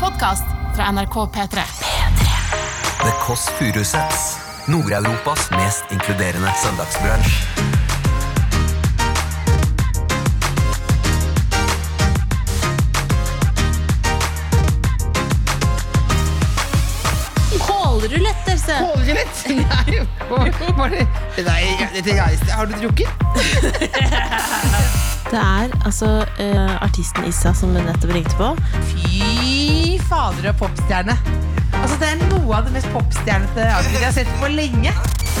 podkast fra NRK P3. The Kåss Furuseths. Nord-Europas mest inkluderende søndagsbransj. Kålrulett, Else! Kålrulett? Nei, hva- var det Nei, jeg- dette jeg- har du drukket? Det er altså eh, artisten Issa som du nettopp ringte på. Fy fader og popstjerne. Altså, det er noe av det mest popstjernete jeg har sett på lenge.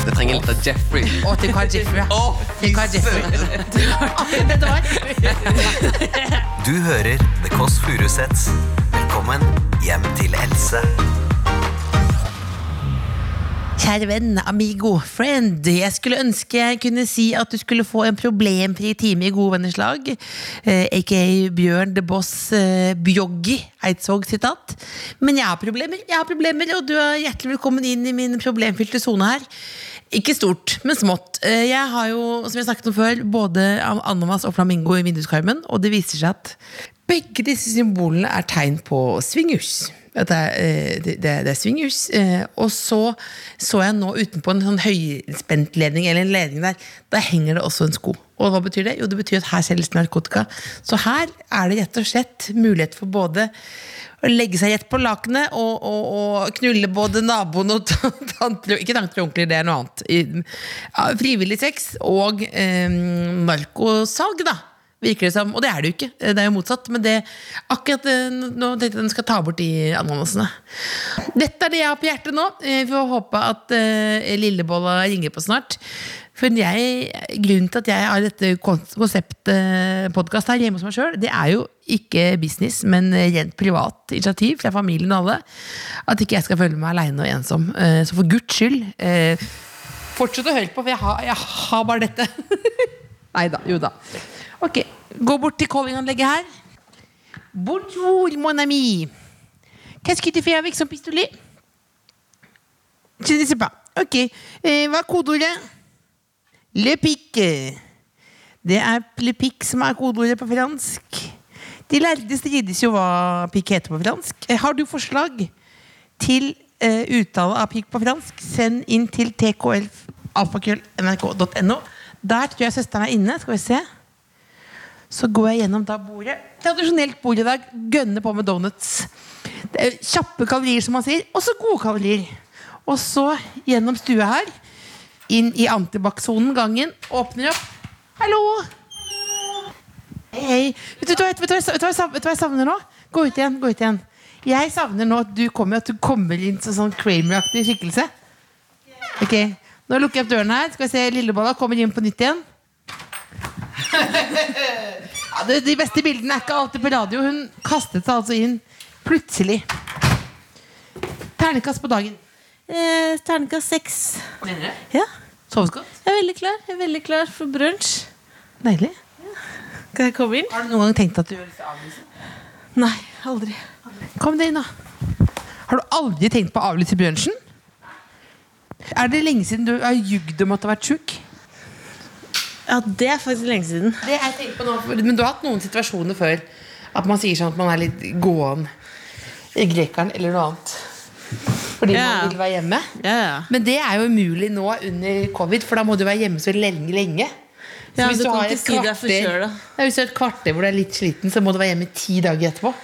Det trenger litt av Jeffrey. Å, tenk å ha Jeffrey. ja. Å, Tenk å ha Jeffrey. Akkurat dette var. Du hører The Kåss Furuseths. Velkommen hjem til Else. Kjære venn, amigo, friend. Jeg skulle ønske jeg kunne si at du skulle få en problemfri time i Gode venners lag. Eh, AKA Bjørn The Boss eh, Bjoggi Eidsvåg sitat. Men jeg har problemer, jeg har problemer, og du er hjertelig velkommen inn i min problemfylte sone her. Ikke stort, men smått. Eh, Jeg har jo, som jeg snakket om før, både ananas og flamingo i vinduskarmen, og det viser seg at begge disse symbolene er tegn på swingers. At det, er, eh, det, det er- det er swingers. Eh, Og så så jeg nå utenpå en sånn høyspentledning, eller en ledning der, der henger det også en sko. Og hva betyr det? Jo, det betyr at her selges narkotika. Så her er det rett og slett mulighet for både å legge seg rett på lakenet og, og, og knulle både naboen og t- tanter Ikke tanter og onkler, det er noe annet. I- ja, Frivillig sex og eh, narkosalg, da virker det som. Og det er det jo ikke. Eh, Det er jo motsatt. Men det akkurat eh, nå tenkte jeg den skal ta bort de ananasene. Dette er det jeg har på hjertet nå. Eh, Vi får håpe at eh, Lillebolla ringer på snart. For jeg, grunnen til at jeg har dette konseptpodkast her hjemme hos meg sjøl, det er jo ikke business, men rent privat initiativ fra familien og alle. At ikke jeg skal føle meg aleine og ensom. Eh, Så for guds skyld, eh, fortsett å høre på, for jeg har, jeg har bare dette. Nei da. Jo da. Ok, Gå bort til callinganlegget her. Bonjour, mon ami. Qu'est-ce que tu fais avec son pistolet? Je ne sais pas. Ok. Eh, hva er kodeordet? Le pic. Det er le pic som er kodeordet på fransk. De lærde strides jo hva pic heter på fransk. Eh, Har du forslag til eh, uttale av pic på fransk, send inn til tkl.nrk.no. Der tror jeg søsteren er inne. Skal vi se. Så går jeg gjennom da bordet. Tradisjonelt bord i dag. Gønne på med donuts. Det er kjappe kalorier, som man sier. Og så gode kalorier. Og så gjennom stua her. Inn i antibac-sonen. Gangen. Åpner opp. Hallo! Hei, hei. Vet du, hva- vet, du, hva- vet, du, hva jeg savner- vet du hva jeg savner nå? Gå ut igjen. gå ut igjen Jeg savner nå at du kommer, at du kommer inn som sånn Kramer-aktig skikkelse. Ok, Nå lukker jeg opp døren her. Skal vi se, Lillebolla kommer inn på nytt igjen. Ja, det, de beste bildene er ikke alltid på radio. Hun kastet seg altså inn plutselig. Ternekast på dagen. Eh, Terningkast seks. Ja, Soves godt? jeg er veldig klar. Jeg er veldig klar for brunsj. Deilig. Kan jeg komme inn? Har du noen gang tenkt at du gjør disse avlysene? Nei, aldri. Kom deg inn, da. Har du aldri tenkt på å avlyse Bjørnsen? Er det lenge siden du har jugd om at du har vært sjuk? Ja, det er faktisk lenge siden. Det jeg tenker på nå for- Men du har hatt noen situasjoner før at man sier sånn at man er litt gåen i grekeren eller noe annet. Fordi Ja. man vil være hjemme. Ja, ja. Men det er jo umulig nå under covid, for da må du være hjemme så lenge. lenge. Så Ja, du kan ikke si deg forkjøla. Ja, hvis du har et kvarter hvor du er litt sliten, så må du være hjemme ti dager etterpå.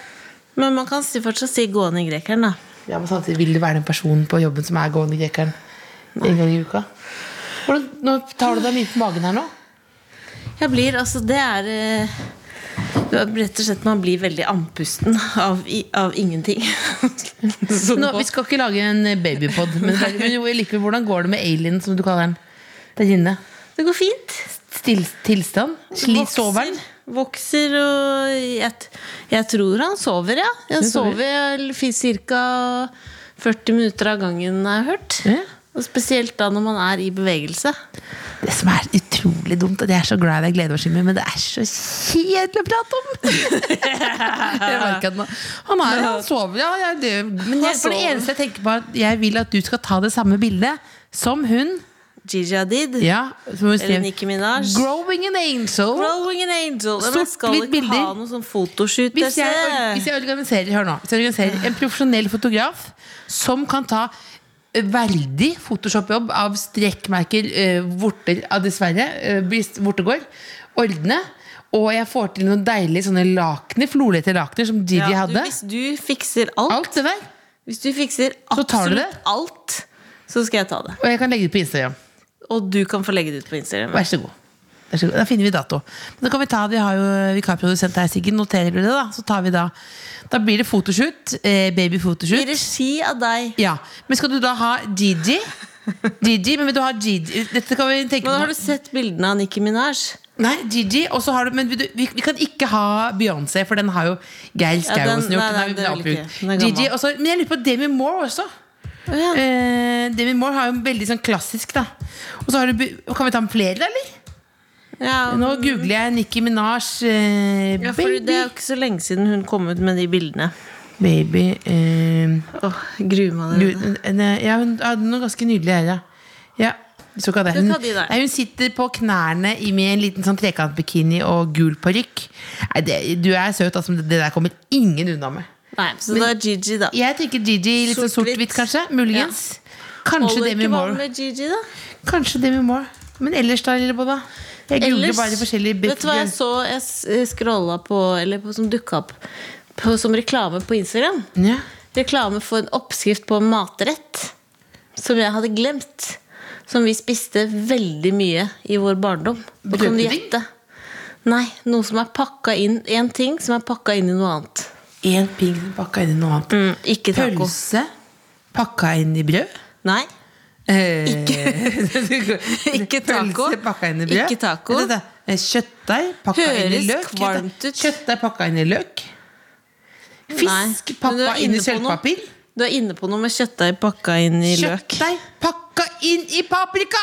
Men man kan si, fortsatt si gående i grekeren, da. Ja, men samtidig vil du være den personen på jobben som er gående grekeren en gang i uka. Hvordan, nå tar du deg mye på magen her nå. Jeg blir, altså det er eh, det er Rett og slett man blir veldig andpusten av, i- av ingenting. Så nå nå- vi skal ikke lage en eh, babypod, men, men jo, likevel, hvordan går det med alien, som du kaller den? Der inne. det går fint. Still, tilstand? Sli, sover den? Vokser og jeg, t- jeg tror han sover, ja. Han Du sover? sover ca. 40 minutter av gangen, har jeg hørt. Ja. Og spesielt da når man er i bevegelse. Det som er utrolig dumt, at jeg er så glad i deg, gleder meg, Jimmy, men det er så kjedelig å prate om! jeg merker at nå- Han er han sover, ja. Jeg, det, men jeg, for det sover. eneste jeg tenker på, er at jeg vil at du skal ta det samme bildet som hun Gigi Hadid. Ja, så må vi Eller skrive Nicki Minaj. Growing an angel. Rolling an angel. Men jeg skal Sort-hvitt ikke ha bilder. noe sånn fotoshoot. Hvis jeg, Else. hvis jeg organiserer Hør nå. Hvis jeg organiserer en profesjonell fotograf som kan ta verdig Photoshop-jobb av strekkmerker, eh, vorter av dessverre, eh, blir- vortegård, ordne, og jeg får til noen deilige sånne lakener, flolete lakener som Gigi Ja, du, hadde. hvis du fikser alt, Alt det der. hvis du fikser Så tar absolutt du det? alt, så skal jeg ta det. Og jeg kan legge det på Instagram. Og du kan få legge det ut på Instagram. Vær så god. Vær så god. Da finner vi dato. Men da kan vi ta, Vi har jo vikarprodusent her, Siggen. Noterer du det, da? Så tar vi da Da blir det fotoshoot. Eh, I Babyfotoshoot. regi av deg. Ja. Men skal du da ha Gigi? Gigi, men vil du ha Gigi Dette kan vi tenke Men har på. du sett bildene av Nicki Minaj? Nei, Gigi, og så har du Men vil du, vi, vi kan ikke ha Beyoncé, for den har jo Geir den- Skauosen gjort. nei, Den har nei, vi det vil oppgjort. ikke. Den er gammel. Gigi, også, men jeg lurer på Demi Moore også. Å ja. Eh, Demi Moore har jo en veldig sånn klassisk, da. Og så har du Be- Kan vi ta med flere, da, eller? Ja, Nå googler jeg Nicki Minaj. eh, ja, for baby. det er jo ikke så lenge siden hun kom ut med de bildene. baby eh, Åh, jeg gruer meg du, allerede. ne, ja, hun hadde noe ganske nydelig her, ja. ja. Så ikke det. Du Hun, tar de der. nei, hun sitter på knærne i- med en liten sånn trekantbikini og gul parykk. Nei, det- Du er søt, altså, men det der kommer ingen unna med. Nei, så da er Gigi, da. Jeg tenker Gigi litt sånn Sort-hvitt. sort-hvitt, kanskje. Muligens. Kanskje Holder Demi ikke vann Moore. med Gigi, da? Kanskje Demi Moore. Men ellers da, Lillebolla? Jeg googler Ellers, bare forskjellige Vet du hva jeg så jeg s- scrolla på, eller på, som dukka opp på, som reklame på Instagram? Ja. Reklame for en oppskrift på en matrett som jeg hadde glemt. Som vi spiste veldig mye i vår barndom. Og kan du Brødpudding? gjette? Nei, noe som er pakka inn En ting som er pakka inn i noe annet. En ping pakka inn i noe annet. Mm, ikke taco. Pølse pakka inn i brød. Nei. Ikke, Eh. Ikke taco. Pølse pakka inn i brød. Ikke taco. Vent, vent, vent. Eh, Kjøttdeig pakka inn i Høres løk. kvalmt ut. Kjøttdeig pakka inn i løk. Fisk Nei, men du er pakka inn inne i på noe. sølvpapir. Du er inne på noe med kjøttdeig pakka inn i løk. Kjøttdeig pakka inn i paprika!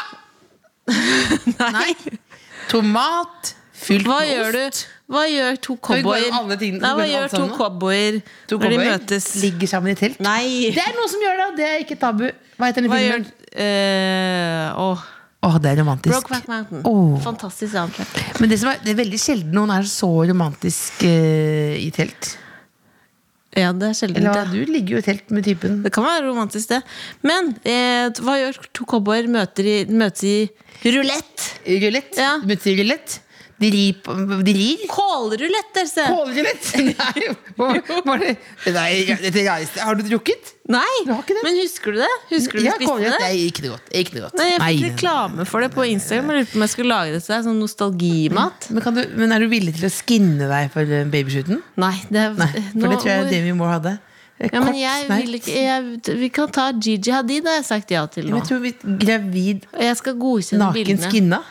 Nei. Tomat fylt Hva med gjør ost. du? Hva gjør to vi går cowboyer gjennom alle tingene- Nei, går hva gjennom gjør alt to sammen nå? cowboyer To når de cowboyer møtes? Ligger sammen i telt. Nei! Det er noe som gjør det, og det er ikke tabu. Hva heter den Hva gjør filmen? eh, åh. Åh, det er romantisk. Brokeback Mountain. Åh. Fantastisk soundtrack. Men det, som er, det er veldig sjelden noen er så romantisk eh, i telt. Ja, det er sjeldent. Eller Ja. hva? Du ligger jo i telt med typen. Det kan være romantisk, det. Men eh, hva gjør to cowboyer møter i, møtes i rulett? Rulett. Ja. Du møter rulett. De rir. på- De rir. Kålrulett, Else! Kålrulett! Nei, hva- var det Nei, dette rareste. Har du drukket? Nei! Du har ikke det? Men husker du det? Husker du Ja, du spiste kålrulett det? er ikke noe godt. Ikke noe godt. Nei, jeg fikk nei, nei. reklame for det på Instagram. Jeg lurte på om jeg skulle lage det til deg. Sånn nostalgimat. Men, kan du, men er du villig til å skinne deg for eh, babyshooten? Nei, det er Nei, for Eh, nå- det tror jeg hvor- Demi Moore hadde. Eh, Ja, men kort jeg sneip. vil ikke jeg, Vi kan ta Gigi Hadid, har jeg sagt ja til nå. Men jeg tror vi gravid, Og jeg skal godkjenne naken bildene. skinna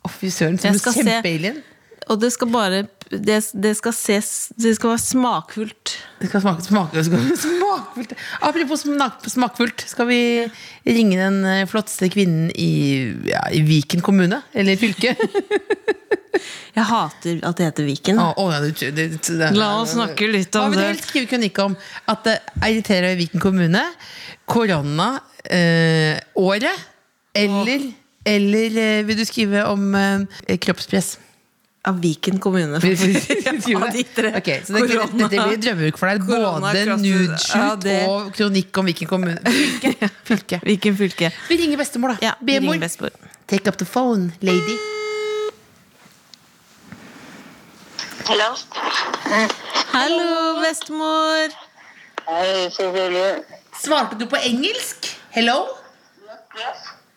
Å, fy søren, som Jeg en skal se- kjempealien. Og det skal bare det, det skal ses Det skal være smakfullt. Det skal smake, smake, smake, smakfullt. Apropos smak, smakfullt, skal vi ringe den eh, flotteste kvinnen i, ja, i Viken kommune? Eller fylke? Jeg hater at det heter Viken. Å, å, ja, du- du- du- du- det- La oss snakke litt Hva om vil du det. helst skrive kronikk om? At det irriterer i Viken kommune? Korona? Eh, året? Eller, eller eh, vil du skrive om eh, kroppspress? Av Viken kommune, Vi får faktisk. skrive Av de tre. Ok, så det, Korona. dette blir drømmeuke for deg. Korona, Både kroppspress. Ja, nudeshoot det- og kronikk om Viken kommune. Fylke. Fylke. Viken fylke. Vi ringer bestemor, da. Ja, vi Bemor. ringer bestemor. Take up the phone, lady. Hallo? Hallo, bestemor! Hei, Cecilie. Svarte du på engelsk? Hello?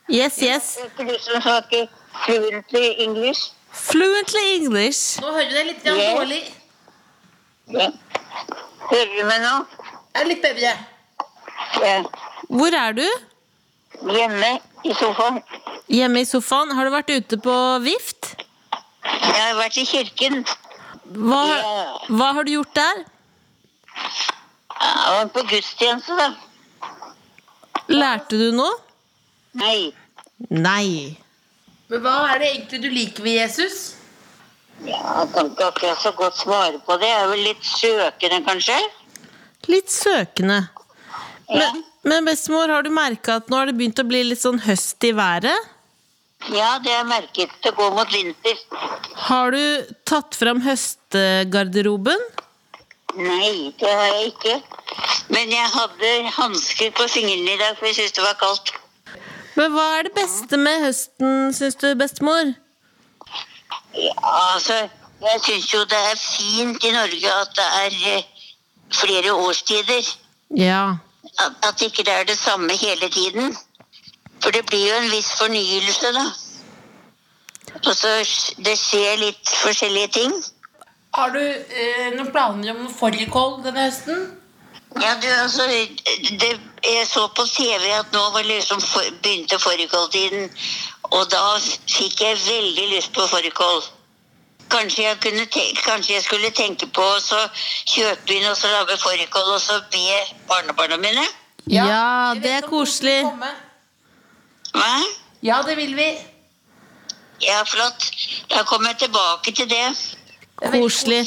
Yes, yes. Heter du som snakker fluently English? Fluently English. Nå hører du deg litt grann Ja. dårlig. Ja. Hører du meg nå? Er litt bedre. Ja. Hvor er du? Hjemme i sofaen. Hjemme i sofaen. Har du vært ute på vift? Jeg har vært i kirken. Hva, hva har du gjort der? Jeg var på gudstjeneste, da. Lærte du noe? Nei. Nei. Men hva er det egentlig du liker ved Jesus? Ja, jeg kan ikke akkurat så godt svare på det. Jeg er vel litt søkende, kanskje. Litt søkende. Ja. Men, men bestemor, har du merka at nå har det begynt å bli litt sånn høst i været? Ja, det er merket. Det går mot vinter. Har du tatt fram høstegarderoben? Nei, det har jeg ikke. Men jeg hadde hansker på fingrene i dag, for jeg syntes det var kaldt. Men hva er det beste med høsten, syns du, bestemor? Ja, altså, jeg syns jo det er fint i Norge at det er eh, flere årstider. Ja. At, at ikke det er det samme hele tiden. For det blir jo en viss fornyelse, da. Og så s- det skjer litt forskjellige ting. Har du eh, noen planer om noe fårikål denne høsten? Ja, du, altså, det, jeg så på TV at nå var liksom for, begynte fårikåltiden, og da fikk jeg veldig lyst på fårikål. Kanskje jeg, kunne te- kanskje jeg skulle tenke på å så kjøpe inn og så lage fårikål og så be barnebarna mine? Ja, det er koselig. Hva? Ja, det vil vi. Ja, flott. Da kommer jeg tilbake til det. Koselig.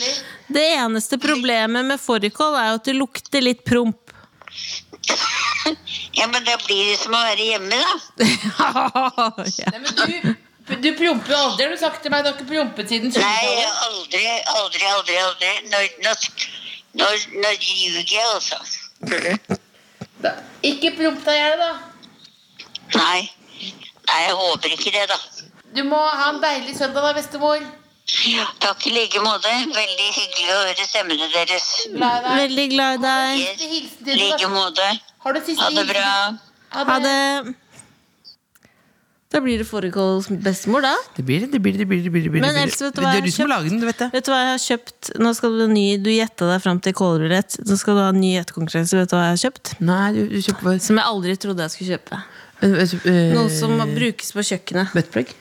Det eneste problemet med fårikål er jo at det lukter litt promp. Ja, men da blir det som å være hjemme, da. ja. Nei, men du, du promper jo aldri, har du sagt til meg. Du har ikke prompet siden Nei, 20-tallet. aldri, aldri, aldri. aldri. Nå, nå, nå, nå ljuger jeg, altså. Ikke promp deg i hjel, da. Nei. Nei, jeg håper ikke det, da. Du må ha en deilig søndag, da, bestemor. Takk i like måte. Veldig hyggelig å høre stemmene deres. Glad i deg. Veldig glad i deg. Yes, Hilsen I til like måte. Har du siste Ha det bra. Ha det. Da blir det fårikåls bestemor, da. Det blir det, det blir det. det blir det, det blir det, det blir Men det. Else, vet du det hva jeg er du som har har laget den, du vet det. Vet du hva jeg har kjøpt? Nå skal du ha en ny, du gjetta deg fram til kålrulett. Nå skal du ha en ny gjettekonkurranse. Vet du hva jeg har kjøpt? Nei, du, du kjøper bare Som jeg aldri trodde jeg skulle kjøpe. uh, Noe som brukes på kjøkkenet. Buttplug?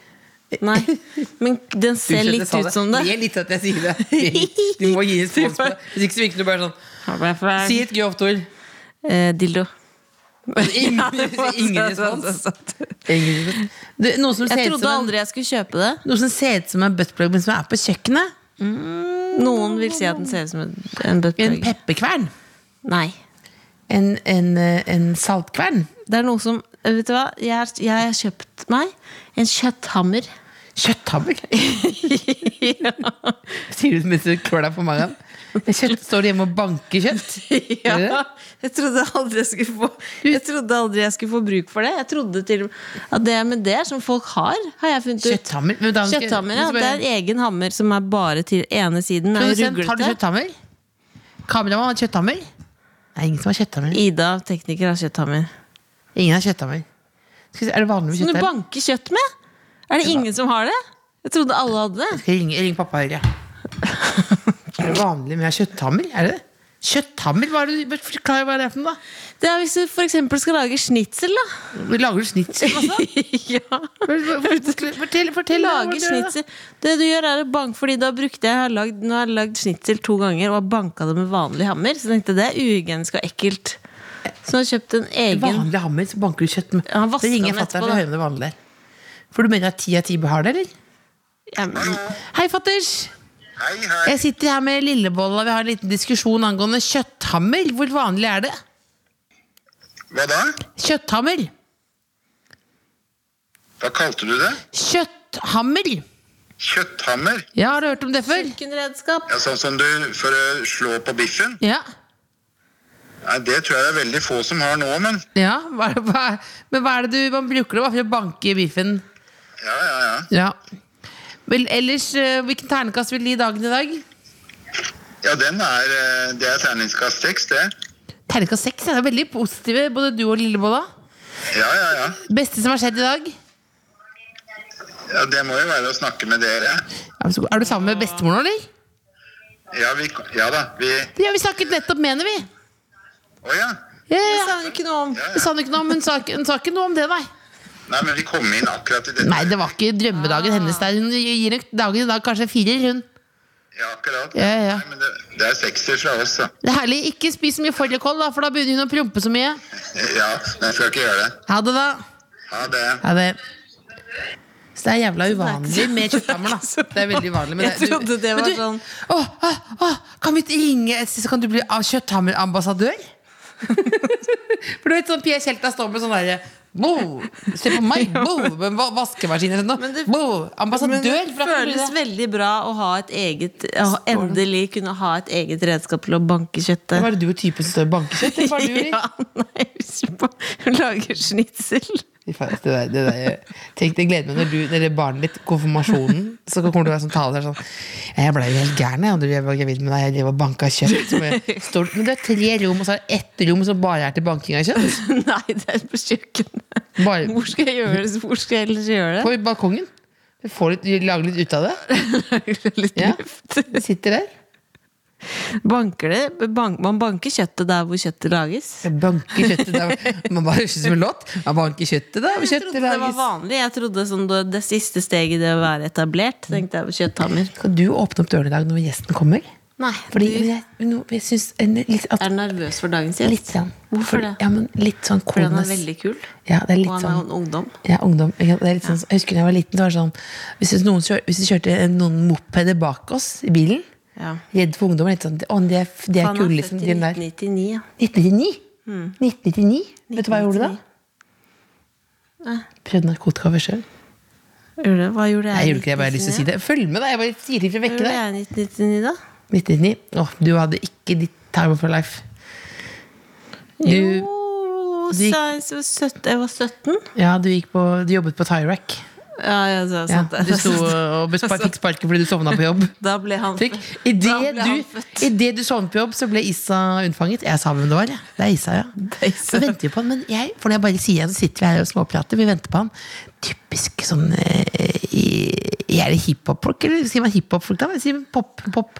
Nei, men den ser litt ut som det. Det er litt at jeg sier det. Det er litt- Du må gi respons på det. Hvis ikke så virker du bare sånn. Si et grovt ord. Eh, dildo. Ingen, Ja, det var ingen sant, respons. sant, sant. Ingen respons. Du, noe, som Jeg ser ut trodde som en, aldri jeg skulle kjøpe det. noe som ser ut som en buttplug, men som er på kjøkkenet. Noen vil si at den ser ut som en- en En buttplug. pepperkvern. Nei. En, en, eh, en saltkvern. Det er noe som Vet du hva? Jeg har, jeg har kjøpt meg en kjøtthammer. Kjøtthammer? Sier du mens du klør deg på magen? Kjøtt, står du hjemme og banker kjøtt? Gjør du det? Ja, jeg trodde aldri jeg skulle få Jeg trodde aldri jeg skulle få bruk for det. Jeg trodde til og med at det med det som folk har, har jeg funnet ut. Kjøtthammer? Men da- Kjøtthammer, ja. så Det bare- er en egen hammer som er bare til ene siden. Er Produsent, har du ruglete. kjøtthammer? Kameramann har kjøtthammer? Det er ingen som har kjøtthammer. Ida, tekniker, har kjøtthammer. Ingen har kjøtthammer. Skal vi se, Er det vanlig med Som du kjøtthammer? banker kjøtt med? Er det ingen som har det? Jeg trodde alle hadde det. Skal jeg ringe, ring pappa Høyre. Er det vanlig med kjøtthammer? Er det det? Kjøtthammer? Hva er det, du- forklar hva det er for noe, da. Det er hvis du for eksempel skal lage snitsel, da. Altså. Lager du snitsel også? ja. Fortell, fortell, fortell Lager hvordan du gjør det, da. snitsel. Det du gjør, er å banke fordi da brukte jeg, jeg har lagd, Nå har jeg lagd snitsel to ganger og har banka det med vanlig hammer. Så tenkte jeg det er uhygienisk og ekkelt. Så nå har jeg kjøpt en egen Vanlig hammer, så banker du kjøtt med. Ja, han vasker det ringer den fatter'n etterpå, for å da. høre om det er vanlig. For du mener at ti av ti har det, eller? Ja, men- Hei, fatters! Hei, hei. Jeg sitter her med Lillebolla. Vi har en liten diskusjon angående kjøtthammer. Hvor vanlig er det? Hva da? Kjøtthammer. Hva kalte du det? Kjøtthammer. Kjøtthammer? Ja, har du hørt om det før? Kjøkkenredskap. Ja, sånn som du for å slå på biffen? Ja. Nei, det tror jeg det er veldig få som har nå, men ja. Hva, er det- hva, men hva er det du man bruker det bare for å banke i biffen? ja, ja, ja. Ja. Vel, ellers, eh, hvilken ternekast vil du gi dagen i dag? Ja, den er, eh, det er terningskast seks, det. Ternekast seks ja, det er veldig positive, både du og Lillebolla. Ja, ja, ja. Beste som har skjedd i dag? Ja, Det må jo være å snakke med dere. Ja, så- Er du sammen med bestemor nå, eller? Ja, vi, ja da, vi Ja, vi snakket nettopp, mener vi. Å ja. Ja, ja, Det ja. sa hun ikke noe om. Hun sa ikke noe om, hun sa, ikke- hun sa ikke noe om det, nei. Nei, men vi kom inn akkurat i dette. Nei, det var ikke drømmedagen hennes der. Hun gir nok dagen i dag kanskje en firer, hun. Ja, akkurat. Ja, ja. Nei, men det, det er sekser fra oss, da. Det er herlig. Ikke spis så mye fårikål, da, for da begynner hun å prompe så mye. Ja, men jeg skal ikke gjøre det. Ha det, da. Ha det. Ha det. Så det er jævla uvanlig med kjøtthammer, da. Det er veldig uvanlig men Jeg trodde det men var du- sånn- Åh, åh, åh, kan vi ikke ringe et sted, så kan du bli av- kjøtthammerambassadør? for du vet sånn Pia Tjelta står med sånn derre Bo! Se på meg! Bo! Med va- Vaskemaskiner og sånn. det- Bo! Men det Ambassadør fra føles Florida! veldig bra å ha et eget å Endelig kunne ha et eget redskap til å banke kjøttet. Var det du og typen som står og banker kjøtt? eller hva er det du gjør? Ja, nei, husk på Hun lager schnitzel. Fy faen, Det der, det der, tenk, jeg gleder meg når du, når barnet ditt, konfirmasjonen, så kommer du være sånn taler sånn Jeg ble jo helt gæren, jeg, og du jeg var gravid med deg, jeg drev og banka kjøtt. Med, stort, men du har tre rom, og så er det ett rom som bare er til banking av kjøtt. Nei, det er på kjøkkenet. Bare Hvor skal jeg gjøre det? Hvor skal jeg ellers gjøre det? på balkongen. Du får litt, Lager litt ut av det. Litt Ja. luft. Sitter der. Banker det? Bank, man banker kjøttet der hvor kjøttet lages. Jeg banker kjøttet der. Man bare høres ut som en låt. Man banker kjøttet der. og Jeg Kjøttet trodde det var lages. vanlig. Jeg trodde sånn det, det siste steget i det å være etablert. Tenkte jeg på kjøtthammer. Skal du åpne opp døren i dag når gjesten kommer? Nei, Fordi du jeg, nå- jeg synes en- litt, at, er nervøs for dagens litt gjest. sånn Hvorfor fordi- det? Ja, men litt sånn Fordi han er kones- veldig kul, Ja, det er og litt han er jo sånn en ungdom. ja, ungdom. ikke sant? Det er litt sånn, jeg husker da jeg var liten, så var det sånn Hvis det noen kjør, hvis det kjørte en- noen mopeder bak oss i bilen, Ja. altså, redd for ungdommer, litt sånn Å, de er, de er Han kule, er født liksom. De i der. 1999. ja. 1999? Mm. 1999? Vet du hva jeg gjorde da? Ah. Prøvde narkotika over sjøl. Gjorde det? Hva gjorde jeg? Jeg gjorde ikke det, jeg bare har lyst til å si det. Følg med, da! Jeg bare tidlig for å vekke Gjorde jeg deg. i 1999 da? 1999. Åh, du hadde ikke ditt time for life. Du, Jo, du gikk- sa jeg så søtt- jeg var 17. ja, du, gikk på, du jobbet på Tyrac. Ja, ja, så, Ja, sant det. du sto og ble spark- fikk sparken fordi du sovna på jobb. Da ble han Fikk. født. I Da det ble du, han født. i det du sovnet på jobb, så ble Issa unnfanget. Jeg sa hvem det var. jeg. Det er Issa, ja. er Issa. Så venter vi på han, men jeg, for når jeg bare sier det, så sitter vi her og småprater. Vi venter på han. Typisk sånn eh, i- Er det hiphop-folk, eller sier man hiphop-folk da? Eller Sier man pop, pop, pop,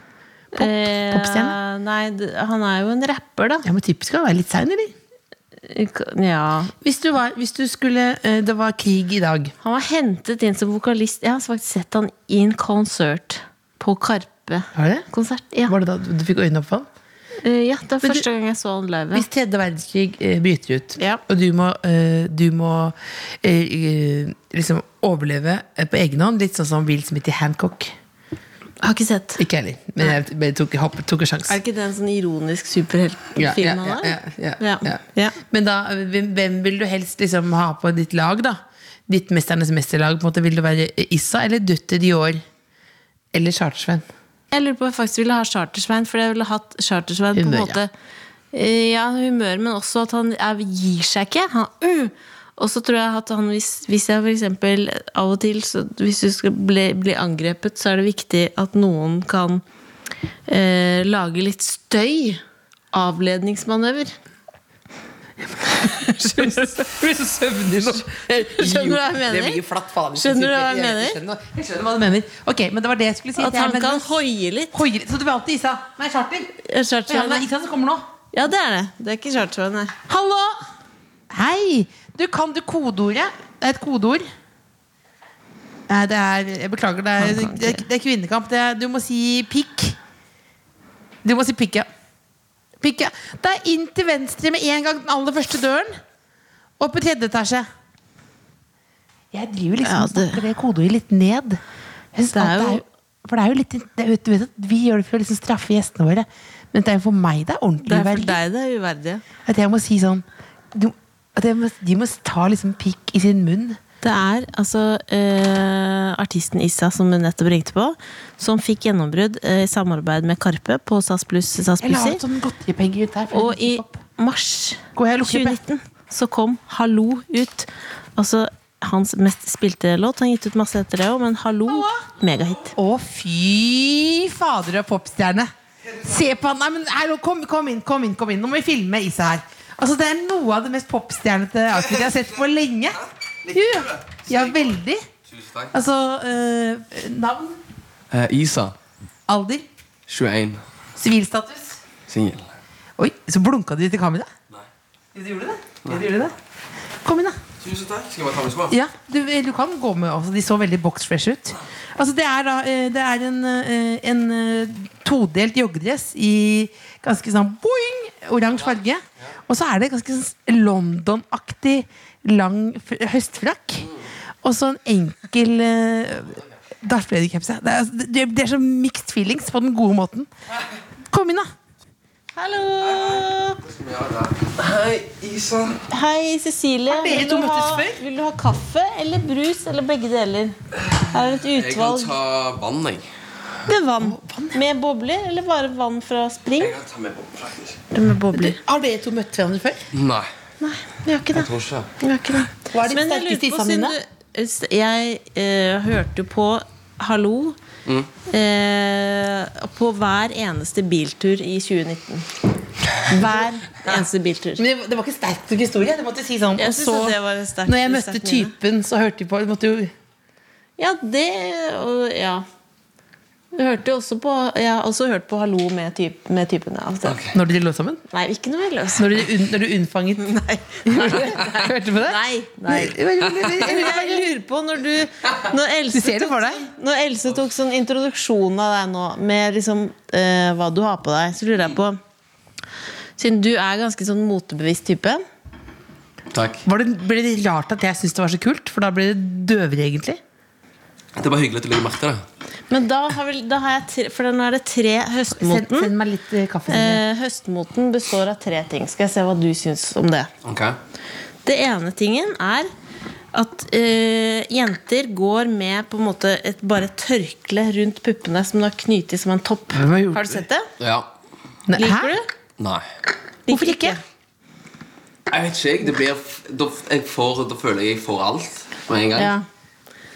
popstjerne? Eh, nei, d- han er jo en rapper, da. Ja, men typisk å være litt sein, eller? Ja. Hvis du, var, hvis du skulle eh, Det var krig i dag. Han var hentet inn som vokalist. Jeg har faktisk sett han i en konsert på Karpe. Var det? Konsert, ja. Var det da du fikk øynene opp for han? Eh, ja, det var Men du- første gang jeg så han live. Hvis tredje verdenskrig eh, bryter ut, Ja. og du må, eh, du må eh, eh, liksom overleve eh, på egen hånd, litt sånn som Will Smith i Hancock Jeg har ikke sett. Ikke heller, men jeg bare tok, hopp, tok en sjanse. Er ikke det en sånn ironisk superheltfilm Ja, ja, han er? ja, ja, ja, ja. ja. Men da, hvem, hvem vil du helst liksom ha på ditt lag, da? Ditt Mesternes mesterlag? på en måte Vil det være Issa eller Dutter Dior? Eller Chartersven? Jeg lurer på om jeg faktisk ville ha Chartersvein, for jeg ville hatt Chartersvein på en Humør, måte Eh, Ja, humør, men også at han er, gir seg ikke. Han, «Øh!» Og så tror jeg at han, hvis, hvis jeg for eksempel av og til, så hvis du skal bli, bli angrepet, så er det viktig at noen kan eh, lage litt støy. Avledningsmanøver. blir så søvnig nå. Skjønner du hva jeg mener? Det blir jo flatt, faen. Skjønner du hva jeg mener? skjønner, jeg skjønner hva du mener. Ok, men det var det jeg skulle si. At Jeg er han kan nervøs. hoie litt. Hoier, så det blir alltid Isa. Nei, Charter. Eh, Ja, Chartersvein men det er er- Isa som kommer nå. Ja, det er det. Det er ikke Chartersvein, nei. Hallo! Hei! Du, kan du kodeordet? Det er et kodeord. Nei, det er Jeg beklager, det er, Han kan det er, det er kvinnekamp. Det er, du må si pikk. Du må si pikk, ja. Pikk, ja. Det er inn til venstre med en gang den aller første døren. Og på tredje etasje. Jeg driver liksom Ja, og det- snakker det kodeordet litt ned. Jeg synes Det er at jo- for det er jo litt, det, vet, du vet at Vi gjør det for å liksom straffe gjestene våre. Men det er jo for meg det er Det ordentlig er for uverdig. deg det er uverdig. At jeg må si sånn du, at jeg må, De må ta liksom pikk i sin munn. Det er altså eh, artisten Issa som hun nettopp ringte på, som fikk gjennombrudd eh, i samarbeid med Karpe på SAS Pluss SAS Eller ha et Plusser. sånn godteripenger ut der. for Og det er i litt opp. mars Går jeg og lukker 2019 opp, så kom Hallo ut. Altså hans mest spilte låt. Han har gitt ut masse etter det òg, men Hallo, megahit. Å, fy fader og popstjerne! Se på han! Nei, men hallo, kom, kom inn, kom inn, kom inn. Nå må vi filme Isa her. Altså, Det er noe av det mest popstjernete outfitet jeg har sett på lenge. Jo, jo. ja, veldig. Tusen takk. Altså eh, Navn, Eh, Isa. alder, 21. sivilstatus. Singel. Oi, så blunka du til kamera? Jo, Du gjorde det? Ja, du gjorde det. Kom inn, da. Tusen takk. Skal jeg bare ta med Ja, du, du kan gå med altså, De så veldig boxfresh ut Altså det er da eh, Det er en, eh, en eh, todelt joggedress I ganske sånn boing Oransje farge Og så er det ganske sånn London-aktig Lang f- høstfrakk Og så en enkel eh, Darth Vader caps, ja. det, er, altså, det, det er så mixed feelings på den gode måten Kom inn da Hallo! Hei, Isa. Hei, Cecilie. dere Vil to du, møttes ha, før? vil du ha kaffe eller brus eller begge deler? Her er et Jeg kan utvalg ta vann, jeg. med vann. Med bobler eller bare vann fra spring? Jeg kan ta med boble, faktisk. Med bobler. Har dere to møtt hverandre før? Nei, Nei, vi har ikke det. jeg tror ikke det. Vi har ikke det. Hva er de Men jeg sterkeste lurer på, tissene dine? siden du- Jeg eh, hørte jo på Hallo Mm. eh, på hver eneste biltur i 2019. Hver eneste biltur. Men det, det var ikke sterkt nok historie. Det måtte si sånn Jeg og synes så, at det var sterkt. Når jeg møtte sterkt minne. typen, så hørte de på de måtte jo, Ja, det og, Ja. Jeg hørte jo også på Jeg har også hørt på Hallo med, typ, med typene. av og til. Når de lå sammen? Nei, ikke noe løs. Når du, unn- når du unnfanget Nei. Hørte du på det? Nei, nei. Jeg lurer på når du Når Else, Du ser det for deg? Tok, når Else tok sånn introduksjon av deg nå, med liksom eh, hva du har på deg, så lurer jeg på Siden du er ganske sånn motebevisst type Takk. Var det, ble det rart at jeg syntes det var så kult? For da ble det døvere, egentlig. Det var hyggelig at du legger merke til det. Men da har, vel, da har jeg tre, For nå er det tre Send, høstmoten. send meg litt eh, kaffe. Silje. Eh, høstmoten består av tre ting. Skal jeg se hva du syns om det. Ok. Det ene tingen er at eh, jenter går med på en måte et bare tørkle rundt puppene som du har knyttet som en topp. Hvem har gjort Har du sett det? Ja. Nei, Liker hæ? du? Nei. Hvorfor ikke? Jeg vet ikke, jeg. Det blir f- da, f- jeg får, da føler jeg jeg får alt med en gang. Ja.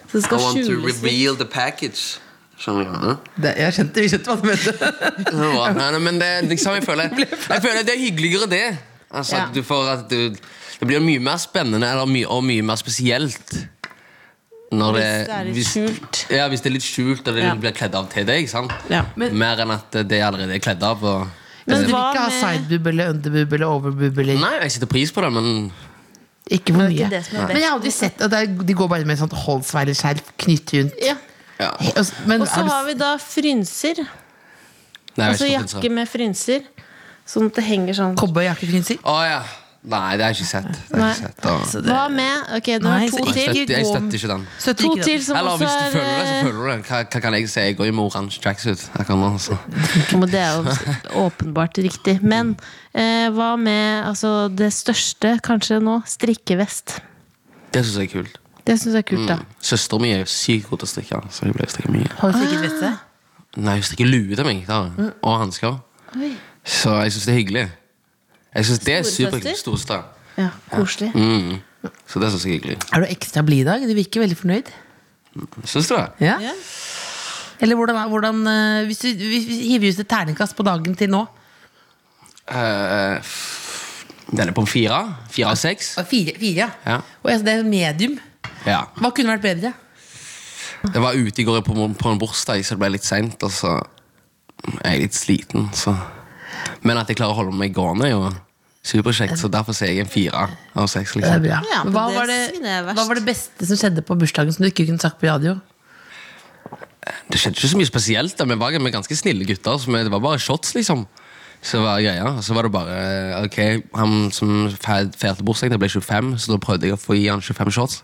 Så det I skal want to skjules litt. reveal the package. Skjønner du? hva jeg mener? Det, jeg skjønte, vi skjønte hva du mente. Det er bra. Nei, nei, men det, er liksom, jeg, føler, jeg føler det er hyggeligere, det. Altså, Ja. at du får, at du, det blir mye mer spennende eller mye, og mye mer spesielt. Når det, Hvis det er litt skjult. Ja, hvis det er litt skjult, og det Ja. blir kledd av til deg. ikke sant? Ja. mer enn at det allerede er kledd av. Og, Men Men du vil hva ikke ha med- sideboob eller underboob eller overboob? Eller. nei, jeg setter pris på det, men Ikke for ikke mye. det som er best. Men jeg har aldri sett at det er- de går bare med sånt holdsveilerskjerf knytt rundt. Ja. ja. He- og s- Men Og så har du- har vi da frynser. Nei, Altså jeg vet ikke hva jakke det er. med frynser. Sånn at det henger sånn. cowboyjakkefrynser? Å ja. Nei, det har jeg ikke sett. Det har jeg ikke sett. Og, Hva med Ok, nå har Nei, jeg så to jeg, til. støtter, jeg støtter ikke den. Støtter To ikke det. til som Eller også hvis du er føler det, så føler du det. Hva, hva kan jeg si? Jeg går jo med oransje tracksuit akkurat nå. Så. Men eh, Det er jo åpenbart riktig. Men eh, hva med altså, det største kanskje nå? Strikkevest. Det syns jeg er kult. Det syns jeg er kult, da. Søsteren min er jo sykt god til å strikke. Så jeg ble strikke mye Har du strikket veste? Nei, hun strikker lue til meg da, og hansker. Oi. Så jeg syns det er hyggelig. Jeg synes det er Storesøster? superhyggelig. Storesøster. Ja, koselig. Mm. Så det syns jeg er hyggelig. Er du ekstra blid i dag? Du virker veldig fornøyd. Syns du det? Ja. Eller hvordan, er- hvordan eh, Hvis du hvis vi hiver ut et terningkast på dagen til nå Eh, f- den er på en fire. Fire av seks. Ah, Fire, fire ja. Ja. Og altså, det er medium. Ja. Hva kunne vært bedre? Jeg var ute i går på, på en bursdag, så det ble litt seint, og så er jeg litt sliten, så Men at jeg klarer å holde meg gående, er jo superkjekt, så derfor sier jeg en fire av seks. Det er Liksom. bra. Ja, men hva, det var synes det, jeg er verst. hva var det beste som skjedde på bursdagen som du ikke kunne sagt på radio? Det skjedde ikke så mye spesielt. da. Vi var med ganske snille gutter. Så vi- det var bare shots, liksom. Så var greia. Og så var det bare eh, Ok, han som fe- feirte bursdagen, det ble 25, så da prøvde jeg å få gi han 25 shots.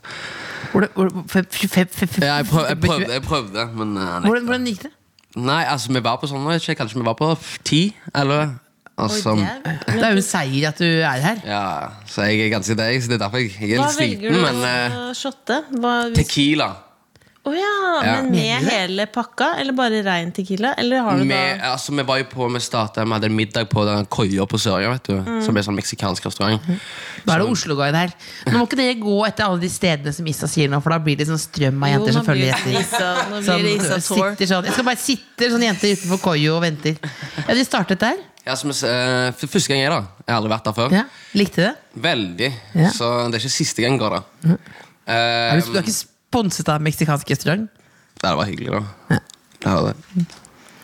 Hvor det, hvor, f- f- f- f- f- Ja, jeg, prøv, jeg, prøvde, jeg prøvde, men eh, han Hvordan, nekta. hvordan gikk det? Nei, altså, vi var på sånn, jeg vet ikke, kanskje vi var på ti, eller altså, Det er jo en seier at du er her. Ja, så jeg er ganske deg, så det er derfor jeg, jeg er Hva litt velger du sliten, men eh, å shotte? Hva, hvis, Tequila. Å ja, Ja. Men Mener med du det? hele pakka, eller bare rein tequila? Eller har du Med, da altså, vi var jo på, vi startet, vi hadde en middag på den koia på Sørøya, vet du. Mm. Som er sånn meksikansk restaurant. Mhm. Nå er det Oslo-guide her. Nå må ikke dere gå etter alle de stedene som Issa sier nå, for da blir det sånn strøm av jenter Jo, som nå blir følger det etter. Isa- nå Som blir det Isa Tour. sitter sånn Jeg skal bare sitte sånn jenter utenfor koio og venter. Ja, de startet der. Ja, som, eh, for første gang jeg da Jeg har aldri vært der før Ja. Likte det? Veldig Ja. Så det er ikke siste gang jeg går da Er Eh, du, du er ikke sponset av en meksikansk restaurant? Det var hyggelig da Det var det. Mm.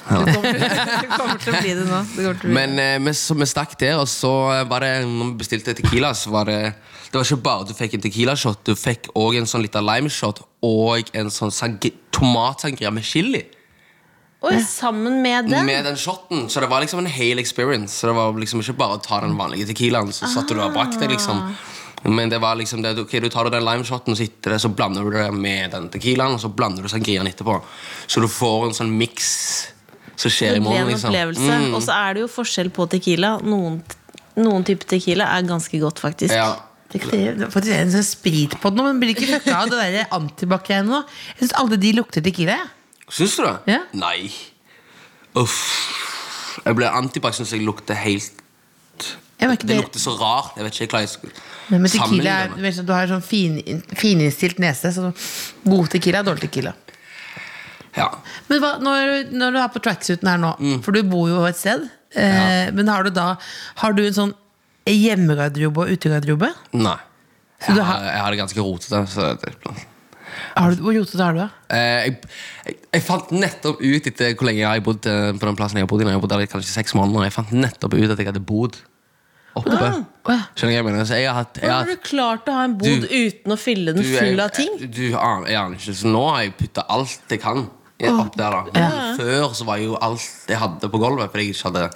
Det kommer til å bli det nå. Det kommer til å bli Men eh, vi, så, vi stakk der Og så var det Når vi bestilte tequila Så var det Det var ikke bare du fikk en tequila shot Du fikk også en sånn liten lime shot Og en sånn sangri, tomatsangria med chili Oi, sammen med den? Med den shotten Så det var liksom en hel experience Så det var liksom ikke bare å ta den vanlige tequilaen Så satt du der og brakk deg liksom Ah. Men det var liksom det Ok, du tar den lime shotten Så, sitter det, så blander du det med den tequilaen Og så blander du sangrian etterpå Så du får en sånn mix Som Det skjer i ble morgen en liksom opplevelse. Og så er det jo forskjell på tequila. Noen noen type tequila er ganske godt, faktisk. Ja. Det er faktisk en sånn sprit på den, nå, men blir ikke fucka av det der antibac-greiene nå. Jeg syns alle de lukter tequila. jeg. Mm. Syns du det? Ja. Nei. Uff. Jeg ble antibac, syns jeg lukter helt Jeg merker Det det- lukter så rart. Jeg vet ikke hva jeg skulle Men tequila sammenligne er, du, med. vet, sånn, du har sånn fin, fininnstilt nese, så god tequila er dårlig tequila. Ja. Men hva, når, når du er på tracksuiten her nå, Mm. for du bor jo et sted, eh, men har du da Har du en sånn hjemmegarderobe og utegarderobe? Nei. du Jeg har- har, jeg har det ganske rotete. Så det, Har du, hvor rotete har du det? Eh, jeg, jeg, jeg fant nettopp ut etter hvor lenge jeg har bodd eh, på den plassen jeg har bodd i. når Jeg har bodd der i kanskje seks måneder Jeg fant nettopp ut at jeg hadde bodd oppe. Åja. Skjønner du hva jeg mener? Så jeg har hatt, Hvordan jeg har har hatt du klart å ha en bod Du- uten å fylle den Du, jeg- full av ting? Du, jeg aner jeg aner ikke. Så nå har jeg putta alt jeg kan i- opp der. da Men Før så var jo alt jeg hadde på gulvet, fordi jeg ikke hadde,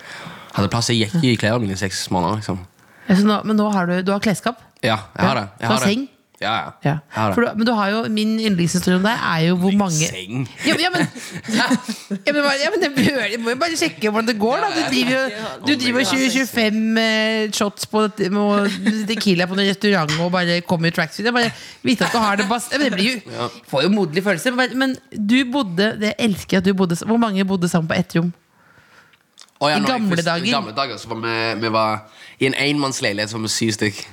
hadde plass. Jeg gikk jo i klærne mine i seks måneder. liksom Altså, nå, men nå har du, du har klesskap? Ja, jeg har Ja. det. Jeg har Basseng? det. Ja, ja. Ja. Jeg har det. For du, men du har jo, min yndlingshistorie om deg er jo hvor mange Seng. Ja, men, ja, men, ja, men, bare- ja, men det bør, jeg må jo bare sjekke hvordan det går, da. Du driver jo du driver jo 20-25 eh, shots på dette- med Tequila på en restaurant og bare kommer i tracksuit. Jeg bare vite at du har det bas ja, men Det blir jo, får jo moderlig følelse. Men, men du bodde Det elsker jeg at du bodde Hvor mange bodde sammen på ett rom? Å, ja, I når jeg gamle først- dager. I gamle dager så var vi, vi var i en enmannsleilighet som var syv stykk.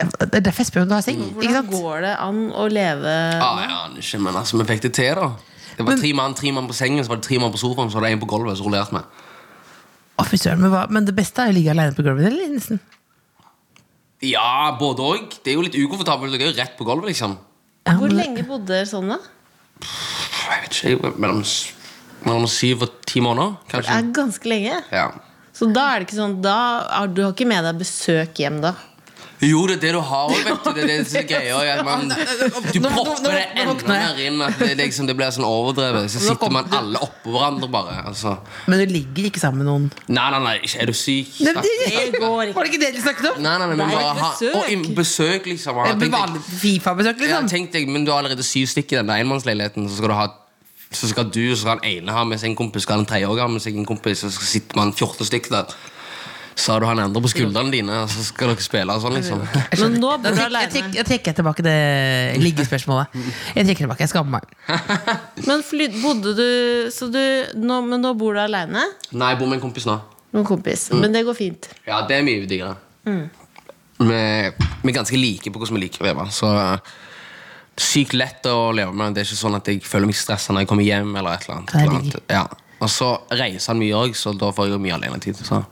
Det er derfor jeg spør om du har seng. Ikke Hvordan sant? går det an å leve Ah, jeg aner ikke, men altså, vi fikk det til, da. Det var tre mann tre mann på sengen, så var det tre mann på sofaen, så var det en på gulvet. Så rullerte vi. Å, fy søren, men, hva- men det beste er å ligge aleine på gulvet, eller? Nesten. Ja, både òg. Det er jo litt ukomfortabelt. Dere er jo rett på gulvet, liksom. Ja, Hvor men- lenge bodde dere sånn, da? Pff, Jeg vet ikke, mellom, s- mellom syv og ti måneder, Det kanskje. er ganske lenge. Ja. Så da er det ikke sånn Da har du har ikke med deg besøk hjem, da. Jo, det er det du har òg, vet du. Det er det som er greia. ja, man- Du nå- nå- propper nå det enda våkner jeg. mer inn. At det, liksom, det blir sånn overdrevet. Så Nå kom- sitter man alle oppå hverandre, bare. Altså. Men du ligger ikke sammen med noen? Nei, nei, nei, ikke- er du syk? Det, Nei, Det går ikke. Var det ikke det dere snakket om? nei, nei, men Nei, bare ha besøk. Og i- besøk, liksom. Ja, Med tenk deg- vanlig Fifa-besøk, ja, liksom? tenk deg, men du har allerede syv stykker i den enmannsleiligheten, så skal du ha så skal du så skal han ene ha med seg en kompis, skal han tredje også ha med seg en kompis, og så sitter man 14 stykker der. Så har du han andre på skuldrene dine, og så skal dere spille og sånn, liksom. Men nå bor Da du trekk- jeg, trekk, aleine. jeg trekker tilbake det liggespørsmålet. Jeg trekker tilbake, jeg skammer meg. Men fly, bodde du Så du nå, Men nå bor du aleine Nei, jeg bor med en kompis nå. med en kompis. Mm. Men det går fint. Ja, det er mye diggere. Mm. Vi vi er ganske like på hvordan vi liker å leve. Så eh, sykt lett å leve med. Det er ikke sånn at jeg føler meg stressa når jeg kommer hjem. eller et eller annet. Det er Eller annet. digg. Ja. Og så reiser han mye òg, så da får jeg jo mye alenetid. Så.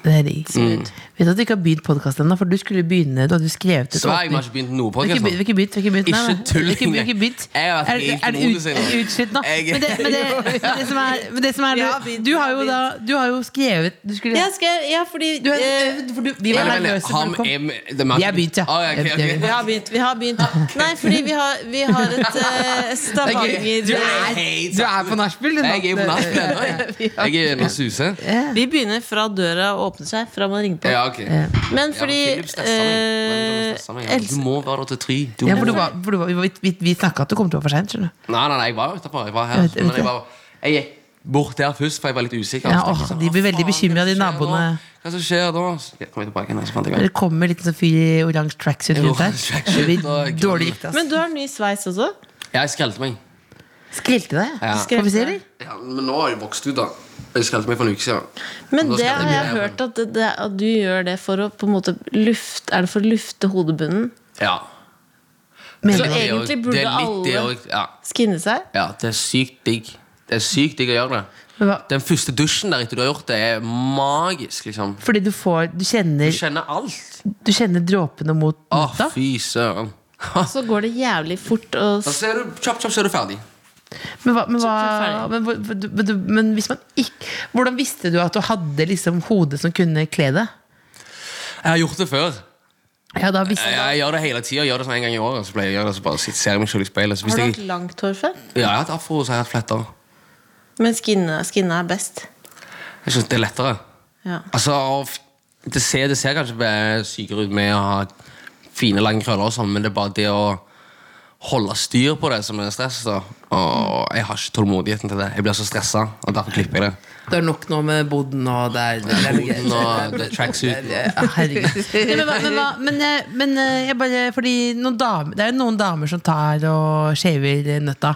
Det er digg. Mm. Vet du at du ikke har begynt podkast ennå? For du skulle begynne, du hadde jo skrevet ut Så jeg åpning. vi har ikke begynt noe Vi har ikke podcast nå. begynt- vi har ikke begynt. vi har Ikke begynt, nei, nei. Ikke tull Vi har ikke- vi har engang. ikke begynt. Jeg har vært Er, helt er, det ut- modus i er dag. det utslitt nå? Jeg- Men det, men det, men det som er, men det som er Ja, du, begynt, du har jo begynt. da Du har jo skrevet Du skulle Jeg skal, ja, fordi du, har- eh, for du, Vi var Vent, vent, nervøse. har for du kom. vi- er vi- det er- Vi har begynt, ja. Ah, ok, ok. Vi har Vi har begynt. vi har begynt Nei, fordi vi har, vi har et eh, Stavanger Du er helt er, du er på nachspiel, du nå. Jeg er på nachspiel ennå. jeg. Jeg er inne og suser. Vi begynner fra døra åpner seg, fra man ringer på. Ja, ok. Men Ja, men fordi Philip stresser meg. Men Philip stresser meg. eh, Du Else- må være der til tre. Du Ja, må for du var, for du var, vi var- vi, vi snakka at du kom til å være for seint, skjønner du. Nei, nei, nei, jeg var jo utenfor. Jeg var her. Jeg vet- jeg men vet jeg, var, jeg gikk bort der først, for jeg var litt usikker. Ja, Så tenkte jeg åh, sånn, de blir «Hva veldig faen, bekymret, hva de skjer naboene.» da? Hva som skjer da? Så jeg kom jeg tilbake igjen, så fant jeg Det veien. kommer en liten sånn fyr i oransje tracksuit Jo, rundt her. tracksuit Det blir og krøll. dårlig rykte. altså. ass. Men du har ny sveis også. Jeg skrelte meg. Skrelte deg? Ja. Skal vi se, eller? Ja, men nå har jeg vokst ut, da. Jeg skrelte meg for en uke siden. Men Nå det skal har jeg jeg begynne. hørt at, det, det, at du gjør det for å på en måte luft, Er det for å lufte hodebunnen? Ja. Mener Så du det? Det er jo- egentlig det burde er litt det alle også- ja. skinne seg? ja, det er sykt digg. Det er sykt digg å gjøre det. Men hva- Den første dusjen der etter du har gjort det, er magisk, liksom. Fordi du får Du Du kjenner, kjenner alt. du kjenner dråpene mot Å, natta? fy søren. Så går det jævlig fort å Da ser du, kjapp, kjapp, så er du ferdig. Men, hva, men, så hva, men, hvor- hvor- du- men, du- men hvis man ikke Hvordan visste du at du hadde liksom hodet som kunne kle deg? Jeg har gjort det før. Ja, da visste Jeg, jeg gjør det hele tida. Gjør det sånn en gang i året. Så pleier jeg å gjøre det, så bare sitter, ser jeg meg selv i speilet. Så hvis Har du jeg, hatt langt hår før? ja, jeg har hatt afro, så har jeg hatt fletter. Men skinne, skinne er best. Jeg synes det er lettere. Ja. Altså, og f- det ser, det ser kanskje bare sykere ut med å ha fine, lange krøller og sånn, men det er bare det å holde styr på det som er stress. da Og jeg har ikke tålmodigheten til det. Jeg blir så stressa, og derfor klipper jeg det. Det er nok nå med boden og det er, det er noe greier. Boden og det er tracksuit. Ja, Herregud. Nei, men, hva- men, hva- men, eh, men eh, jeg bare Fordi noen damer, det er jo noen damer som tar og shaver eh, nøtta.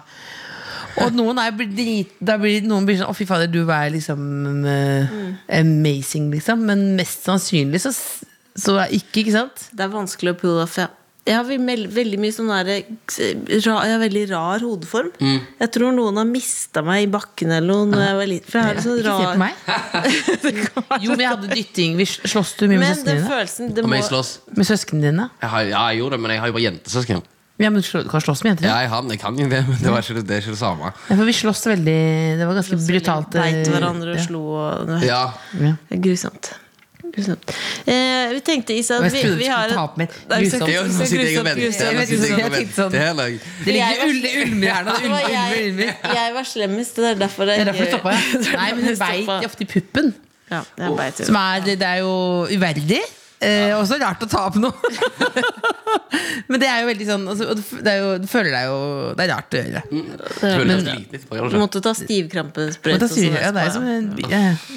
Og noen er blir drit, da blir, noen blir sånn 'Å, fy fader, du er liksom eh, Mm. amazing', liksom. Men mest sannsynlig så, s- så er ikke, ikke sant? Det er vanskelig å pull off, ja. Jeg har vel- veldig mye sånn der, eh, ra- Jeg har veldig rar hodeform. Mm. Jeg tror noen har mista meg i bakken eller noe når jeg var liten. For jeg har en sånn Ikke se på rar meg. Jo, men jeg hadde dytting. Vi sl- Slåss du mye med Men den søsknene dine? følelsen det Om må, jeg slåss Med søsknene dine? jeg har, Ja, jeg gjorde det, men jeg har jo bare jentesøsken. Ja, men du slå- du kan slåss med jenter. Ja, jeg, har, den, jeg kan jo det, men det, var ikke, det- det er ikke det samme. Ja, for vi slåss veldig Det var ganske brutalt. eh, Beit hverandre og ja. slo og det var Ja, Det er Grusomt. Grusomt. Eh, vi tenkte, Isa, Og at jeg vi, trodde du vi skulle har ta opp mitt Nei, vi skal grusomt. det er jo ikke- vi nå skal sitter jeg grusomt, og grusomt. venter. Nå sitter jeg og Jeg tenkte venter. sånn. Det er løgn. Det Jeg ligger var- ul- det ulmer her nå. Det Det var ulmer, ulmer, ulmer. jeg, jeg var slemmest, det er derfor jeg Det er derfor du ikke- stoppa, ja. Nei, men hun Stoppa. beit ofte i puppen. Ja, jeg beit i Som er, det er jo uverdig. Eh, også rart å ta opp noe. men det er jo veldig sånn altså, og du f- det er jo, Du føler deg jo Det er rart å gjøre. Mm. Jeg føler Eh, Men- jeg sliter litt på, gjør Du du ikke? måtte ta stivkrampesprøyte. Men da og sier sånn jeg, ja, det er jo som etterpå, ja. en bi- ja,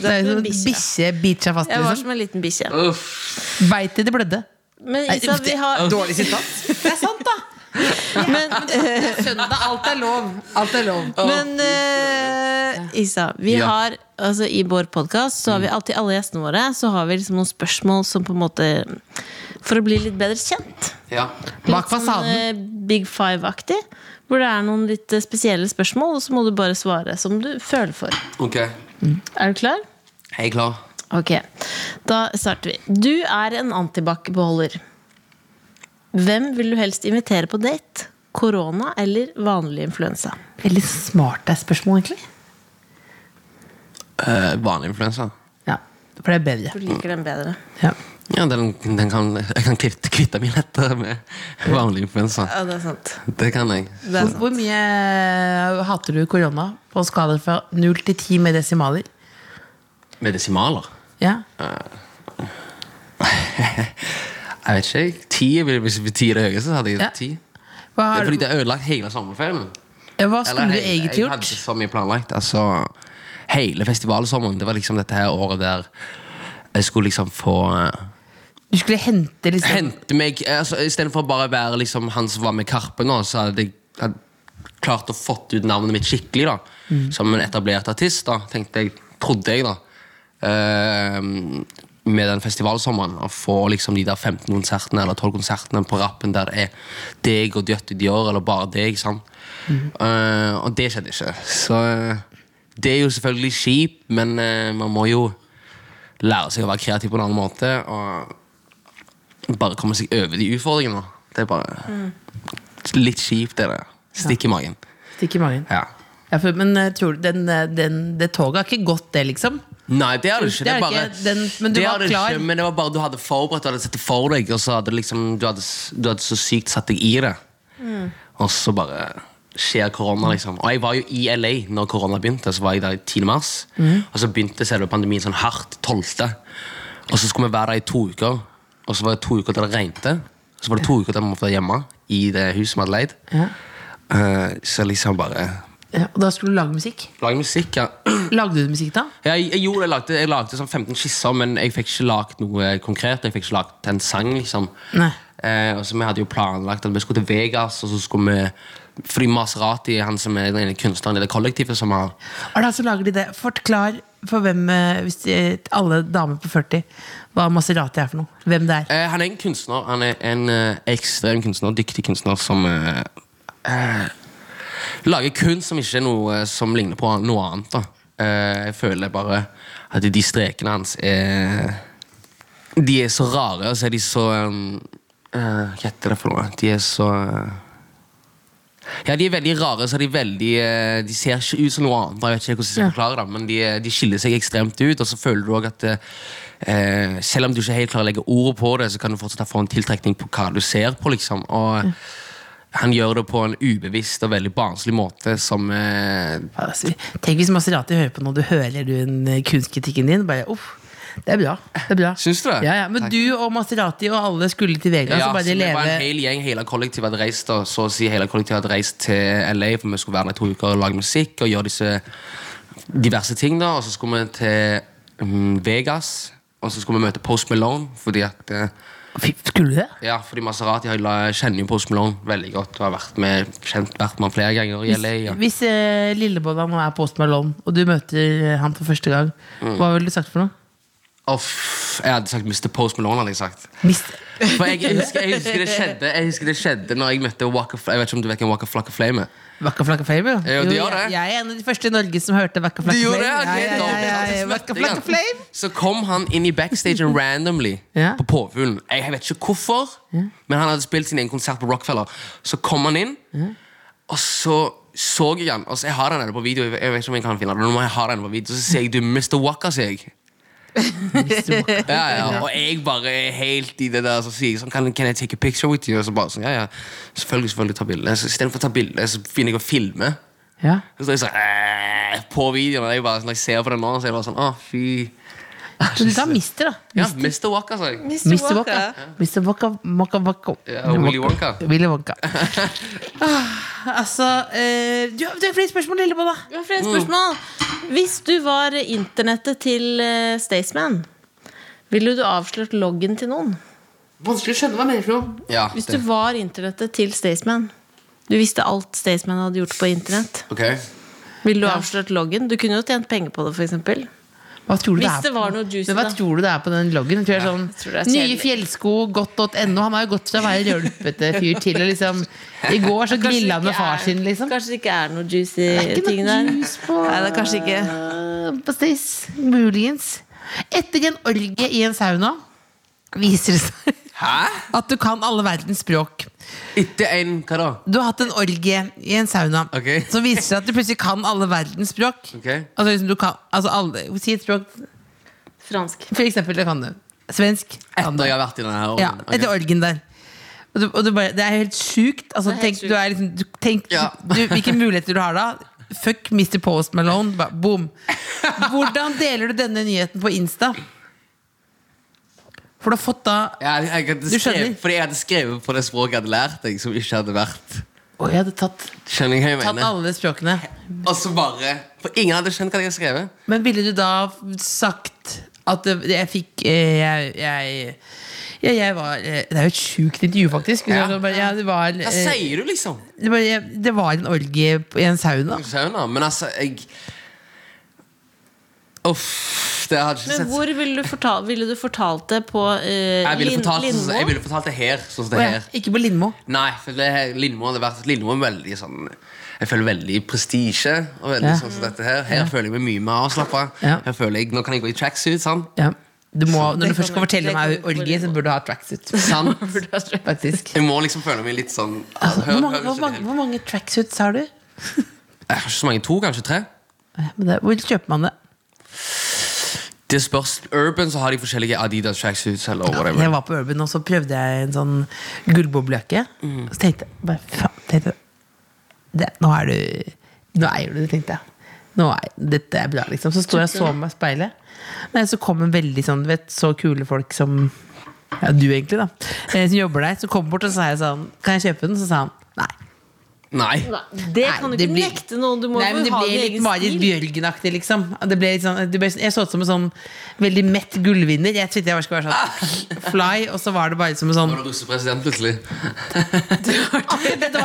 Det er jo som en bikkje. bikkje biter seg fast. Jeg var Liksom. som en liten bikkje. Uff. Beit til det blødde. Men Nei, Isa, uff, vi det- har Dårlig sitat. Det er sant, da. Men, Søndag, alt er lov. Alt er lov. men eh, Isa, vi Ja. har altså, I vår podkast så har vi alltid alle gjestene våre Så har vi liksom noen spørsmål som på en måte For å bli litt bedre kjent. Ja. Bak Litt sånn fasaden. eh, Big Five-aktig. Hvor det er noen litt eh, spesielle spørsmål, og så må du bare svare som du føler for. Ok. Er du klar? Jeg er klar. Ok, Da starter vi. Du er en antibac-beholder. Hvem vil du helst invitere på date? Korona eller vanlig influensa? Veldig smart det er spørsmål, egentlig. Eh, vanlig influensa. Ja, For det er bedre. Du liker den bedre. Ja. Ja, den, den kan, jeg kan kvitte, kvitte meg lett med vanlig influensa. Ja, det er sant. Det kan jeg. Det er Hvor, sant. hvor mye eh, hater du korona på en skala fra null til ti med desimaler? Med desimaler? Ja. Jeg vet ikke. jeg. Ti, hvis ti er det høyeste, så hadde Ja. jeg ti. Hva, Det er har, fordi det har ødelagt hele sommerferien. hva skulle du hele- egentlig Jeg gjort? hadde så mye planlagt. Altså, hele festivalsommeren. Det var liksom dette her året der jeg skulle liksom få eh, Du skulle hente liksom hente meg altså, Istedenfor å bare være liksom, han som var med Karpe nå, så hadde jeg hadde klart å fått ut navnet mitt skikkelig. da Som en etablert artist, da, tenkte jeg, trodde jeg, da. Ehm, med den festivalsommeren. Å få liksom de der 15 konsertene eller 12 konsertene på rappen der det er deg og Djøtti Dior, eller bare deg. sant? Eh, og det skjedde ikke. Så eh, det er jo selvfølgelig kjipt, men eh, man må jo lære seg å være kreativ på en annen måte. Og bare komme seg over de utfordringene. da. Det er bare litt kjipt, det der. Stikk i magen. Stikk i magen. Ja. Ja, for, men eh, tror du den, eh, den, det toget har ikke gått, det, liksom? Nei, det har du ikke. Det Det er er bare, ikke den- men du det var har klar. Ikke, men det var bare du hadde forberedt, du hadde sett det for deg, og så hadde det liksom, du, hadde, s- du hadde så sykt satt deg i det. Mm. Og så bare skjer korona, liksom. Og jeg var jo i LA når korona begynte. Så var jeg der i 10. mars. Mm. Og så begynte selve pandemien sånn hardt 12. Og så skulle vi være der i to uker. Og så var det to uker til det regnet. Så var det to uker til vi måtte være hjemme i det huset vi hadde leid. Ja. Eh, så liksom bare Ja, og da skulle du lage musikk? Lage musikk, ja. Lagde du musikk da? Jeg, jeg gjorde det, jeg lagde, jeg lagde sånn 15 skisser, men jeg fikk ikke lagd noe eh, konkret. Jeg fikk ikke lagd en sang, liksom. Nei. Eh, og så Vi hadde jo planlagt at vi skulle til Vegas, og så skulle vi Fordi Maserati han som er den ene kunstneren i det kollektivet som har Er det altså lager de det? Forklar for hvem, eh, hvis eh, alle damer på 40, hva Maserati er for noe. Hvem det er. eh, Han er en kunstner. Han er en eh, ekstrem kunstner, dyktig kunstner som eh, eh, Lager kunst som ikke er noe eh, som ligner på noe annet. da eh, Jeg føler bare at de strekene hans er De er så rare, og så er de så um, eh, Hva heter det for noe? De er så eh, ja, De er veldig rare, så er de, veldig, eh, de ser ikke ut som noe annet. Jeg vet ikke hvordan jeg skal forklare det, men de, eh, de skiller seg ekstremt ut. Og så føler du også at eh, selv om du ikke helt klarer å legge ordet på det, så kan du fortsatt få en tiltrekning på hva du ser på. liksom. Og Han gjør det på en ubevisst og veldig barnslig måte som eh, Altså, Tenk hvis Maserati hører på noe, du hører du en eh, kunstkritikken din. Bare, uff, Det er bra. det er bra Syns du det? Ja, ja. Men Takk. du og Maserati og alle skulle til Vegas Ja, og så bare det var en leve hel gjeng, hele kollektivet hadde reist da, Så å si hele kollektivet hadde reist til LA For vi skulle være der i to uker og lage musikk Og gjøre disse diverse ting da Og så skulle vi til mm, Vegas Og så skulle vi møte Post Malone Fordi at eh, Fy, Skulle du det? Ja, fordi Maserati har- kjenner jo Post Malone veldig godt Og har vært med, kjent vært med han flere ganger i LA ja. Hvis eh, Lillebolla nå er Post Malone, og du møter eh, han for første gang, Mm. hva ville du sagt for noe? Å, f- Jeg hadde sagt Mr. Post Malone hadde jeg sagt Mist For jeg, jeg, husker, jeg, husker det skjedde, jeg husker det skjedde Når jeg møtte Waka Fl- Jeg vet ikke om du vet hvem Waka Flocka Flame er Vakka flakka flame, jo. Ja, jo, de gjør det. jeg, jeg er en av de første i Norge som hørte Vakka flakka Du gjorde det? flame. Ok, ja, ja, dobbelt. ja, ja, Altså, ja. Vakka smøtte flakka jeg flame. han. Så kom han inn i backstagen randomly Ja. på Påfuglen. Jeg vet ikke hvorfor, men han hadde spilt sin egen konsert på Rockefeller. Så kom han inn, og så så jeg han. Og så jeg har den her på video. Jeg vet ikke om jeg kan finne den, men nå må jeg ha den på video. Så ser jeg du Mr. Waka, sier jeg. Ja, ja, og jeg bare er helt i det der Så sier jeg sånn, can, can I take a picture with you? Og så bare sånn, ja, ja, selvfølgelig, selvfølgelig ta bilde Så i stedet for å ta bilde, så begynner jeg å filme Ja. så står jeg sånn «Æh», på videoen, og jeg bare, når jeg ser på den nå, så er jeg bare sånn Å, fy. Men da mister, da. Ja, Mr. Waka, sa jeg. Mr. Waka. Mr. Waka, Waka, Waka. Ja, Willy Wonka. Willy Wonka. Ah, altså eh, du, har- du har flere spørsmål, Lillebolla. Jeg har flere spørsmål. Hvis du var internettet til eh, Staysman, ville du avslørt loggen til noen? Vanskelig å skjønne hva jeg mener for noe. Ja, Hvis du det. var internettet til Staysman Du visste alt Staysman hadde gjort på internett. Ok. Ville du avslørt loggen? Du kunne jo tjent penger på det, f.eks. Hva tror du Hvis det er det på- var noe juicy, Men hva da. tror du det er på den loggen? Jeg tror det er sånn, jeg tror det er nye kjedelig. fjellsko, godt.no. Han har jo gått fra å være rølpete fyr til å liksom I går så Kanskje det grilla han med ikke far er- sin, liksom. Kanskje det ikke er noe juicy Det er ting ikke der. noe juice på, eh, Nei, det er kanskje ikke. på Stays. Muligens. Etter en orgie i en sauna viser det seg Hæ? at du kan alle verdens språk. Etter en Hva da? Du har hatt en orgie i en sauna Ok. som viser seg at du plutselig kan alle verdens språk. Ok. Altså liksom du kan altså alle, Si et språk. Fransk. For eksempel, det kan du. Svensk. Kan du. Etter jeg har vært i denne her Ja, orden. Ok. etter orgen der. Og du, og du bare, det er helt sjukt. Altså, Det er helt tenk, sjukt. du er liksom, du, tenk Ja. du, hvilke muligheter du har da. Fuck Mr. Post Malone. Ba, boom. Hvordan deler du denne nyheten på Insta? For du har fått da Ja, jeg, jeg hadde Du skrevet, skjønner. fordi jeg hadde skrevet på det språket jeg hadde lært, jeg, som ikke hadde vært Å, jeg hadde tatt, Skjønner jeg hva jeg tatt mener? alle språkene. Og så bare For ingen hadde skjønt hva jeg hadde skrevet. Men ville du da sagt at det- jeg fikk eh, Jeg, jeg, jeg, jeg var eh, Det er jo et sjukt intervju, faktisk. Ja. Så bare, ja, det, var, Hva eh, sier du, liksom? det, var, jeg- det var en orgie i en sauna. Sauna, men altså, jeg Uff, det hadde ikke Men sett hvor ville du fortalt, ville du fortalt det på eh, Jeg ville Lin- fortalt, det sånn- Lindmo? jeg ville fortalt det her. Sånn som Å det ja, her. ikke på Lindmo. Nei, for det her, Lindmo hadde vært Lindmo er veldig sånn Jeg føler veldig prestisje. Og veldig Ja. sånn som dette Her Her føler jeg meg mye mer avslappa. Ja. Her føler jeg, Nå kan jeg gå i tracksuit. sant? Ja. Du må, når du først skal kan- fortelle det om ei kan- orgie, så burde du ha tracksuit. sant? Faktisk. Jeg må liksom føle meg litt sånn Altså, hvor, hør- mange, høres hvor, ut mange, helt- hvor mange tracksuits har du? Jeg har ikke så mange. To, kanskje tre? Eh, men det- Hvor kjøper man det? Det spørs Urban så har de forskjellige Adidas tracksuits eller Jeg whatever. var på Urban, og så prøvde jeg en sånn gullboblejakke. Så tenkte jeg bare faen tenkte, jeg, det, Nå er du Nå eier du det, tenkte jeg. Nå er, dette er bra, liksom. Så sto jeg og så meg i speilet. Nei, så kom en veldig sånn, du vet, så kule folk som Ja, du egentlig, da. eh, Som jobber der. Så kom bort, og så sa jeg sånn Kan jeg kjøpe den? Så sa han nei. Nei. Nei, Det Nei, kan du det ikke blir- nekte noen. Du må Nei, jo men det ha ble din litt egen Marit stil. Bjørgen-aktig, liksom. Det ble litt sånn, det ble, jeg så ut som en sånn veldig mett gullvinner. Jeg trodde jeg bare skulle være sånn fly, og så var det bare som en sånn Nå er du russepresident plutselig. Akkurat det det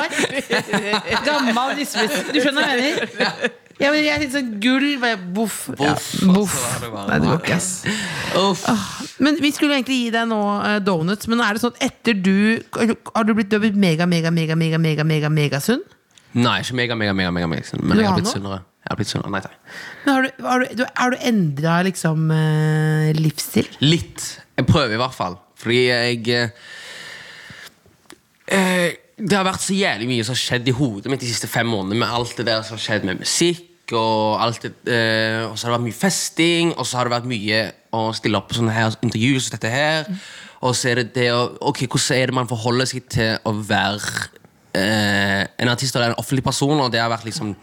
var! Gammal nissebuss. Du skjønner hva jeg mener? Ja, men jeg er litt sånn gull bare Boff. Ja, Boff, boff. altså, det var det bare. Nei, det går ikke, ass. Uff. Men vi skulle egentlig gi deg nå eh, donuts, men er det sånn at etter du Har du blitt, du har blitt mega, mega, mega, mega, mega, mega, megasunn? Nei, ikke mega, mega, mega, mega, mega sunn, men Du jeg har har noe? blitt sunnere. Jeg har blitt sunnere, nei takk Men har du, har du, du, har du endra liksom eh, livsstil? Litt. Jeg prøver i hvert fall. Fordi jeg eh, eh, Det har vært så jævlig mye som har skjedd i hodet mitt de siste fem månedene. Med alt det der som har skjedd med musikk, og, alt det, eh, og så har det vært mye festing, og så har det vært mye å stille opp på sånne her intervjuer som dette her. Og så er det det å Ok, hvordan er det man forholder seg til å være eh, en artist eller en offentlig person? Og det har vært liksom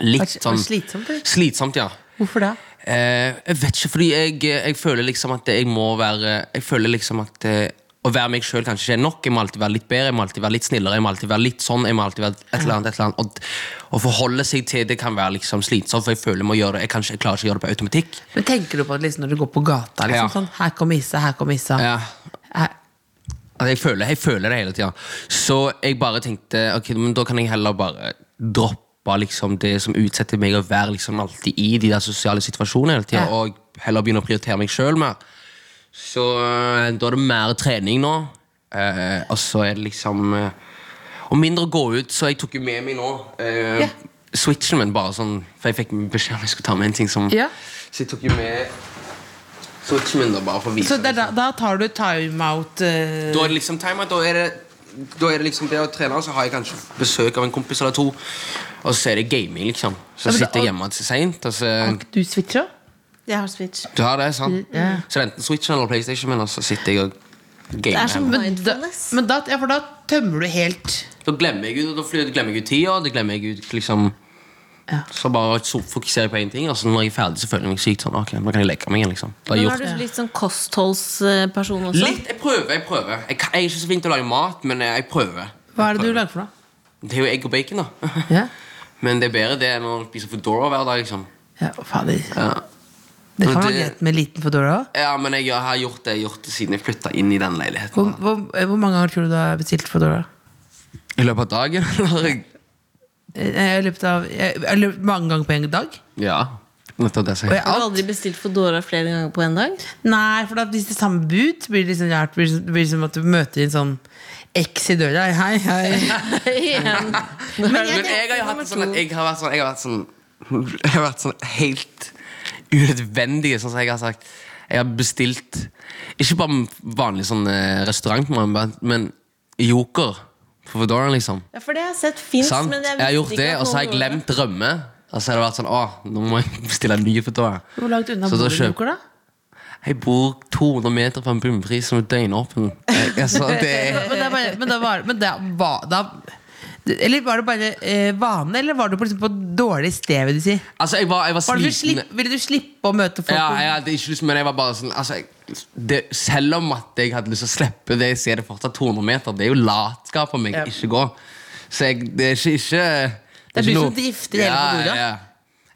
litt Vært- sånn vært slitsomt, eller? Slitsomt, ja. Hvorfor da? Eh, jeg vet ikke, fordi jeg, jeg føler liksom at jeg må være Jeg føler liksom at eh, å være meg sjøl kanskje ikke er nok. Jeg må alltid være litt bedre, jeg må alltid være litt snillere, jeg må alltid være litt sånn. Jeg må alltid være et eller annet, et eller annet. Og å forholde seg til det kan være liksom slitsomt, for jeg føler jeg må gjøre det. Jeg, kan ikke, jeg klarer ikke å gjøre det på automatikk. Men tenker du på det liksom når du går på gata? Liksom, Ja. sånn, her kommer Issa, her kommer Issa. Ja. Her- Altså, jeg, føler, jeg føler det hele tida. Så jeg bare tenkte Ok, men da kan jeg heller bare droppe liksom, det som utsetter meg å være liksom, alltid i de der sosiale situasjonene hele tida, Ja. og heller begynne å prioritere meg sjøl mer. Så eh, da er det mer trening nå. Eh, og så er det liksom eh, Og mindre å gå ut, så jeg tok jo med meg nå eh, Ja. switchen min, bare sånn For jeg fikk beskjed om jeg skulle ta med en ting som Ja. Så jeg tok jo med switchen min, da, bare for å vise liksom. Så det er da, da tar du timeout eh, da er det liksom timeout. Da er det da er det liksom det å trene, og så har jeg kanskje besøk av en kompis eller to. Og så er det gaming, liksom. Så Ja, men da- sitter jeg hjemme til seint. Og så Du switcher òg? Jeg har Switch. du har det, sant? Så det er enten Switchen eller PlayStation, men så sitter jeg og Det gamer. er som hjemme. mindfulness. Men da, ja, for da tømmer du helt Da glemmer jeg ut, da flyr- glemmer jeg ut tida. Da glemmer jeg ut liksom Ja. Så bare so- fokuserer jeg på én ting, og så når jeg er ferdig, så føler jeg meg sykt sånn. Ok, nå kan jeg leke meg igjen, liksom. Da har jeg Men gjort er du litt sånn kostholdsperson også? Litt, jeg prøver, jeg prøver. Jeg, kan, jeg er ikke så flink til å lage mat, men jeg jeg prøver. Hva er det du lager for noe? Det er jo egg og bacon, da. Ja. Men det er bedre det enn å spise Foodora hver dag, liksom. Ja, fader. Ja, Det kan Men være det- greit med en liten fodora òg. ja men jeg har gjort det jeg har gjort det siden jeg flytta inn i den Hvor, leiligheten. da. hvor, eh, hvor mange ganger tror du du har bestilt fodora? I løpet av dagen? eller? I løpet av eh, Eller mange ganger på en dag? ja. Nettopp det Og jeg sier. jeg, Jeg har alt? aldri bestilt Foodora flere ganger på en dag. Nei, for da, hvis det er samme bud, så blir det liksom rart. Det blir, det blir som at du møter en sånn eks i døra. Hei, hei. Igjen. Men jeg, har jo hatt det sånn at jeg har vært sånn Jeg har vært sånn, jeg har vært sånn helt unødvendig, sånn som jeg har sagt. Jeg har bestilt ikke bare vanlig sånn eh, restaurantmat, men Joker på Foodora, liksom. Ja, for det har jeg sett fins, Sant? men jeg Jeg visste har gjort ikke det, at og så har jeg noen gjorde det. glemt rømme. Og så har det vært sånn Å, nå må jeg bestille en ny Foodora. Hvor langt unna Så bor da du, kjøp- Joker, da? Jeg bor 200 meter fra en bunnpris som er døgnåpen. Jeg- Altså, det er Men, det er bare, men da var men det var, da, Eller var det bare eh, vane, eller var du på, liksom, på dårlig sted, vil du si? Altså, jeg var, jeg var Var det du sliten. slipp, ville du slippe å møte folk? Ja, jeg hadde ikke lyst, men jeg var bare sånn altså, jeg, det, Selv om at jeg hadde lyst til å slippe det, så er det fortsatt 200 meter. Det er jo latskap om jeg Ja. ikke går. Så jeg, det er ikke, Det ikke er ikke du noe- som drifter hele Foodora? Ja,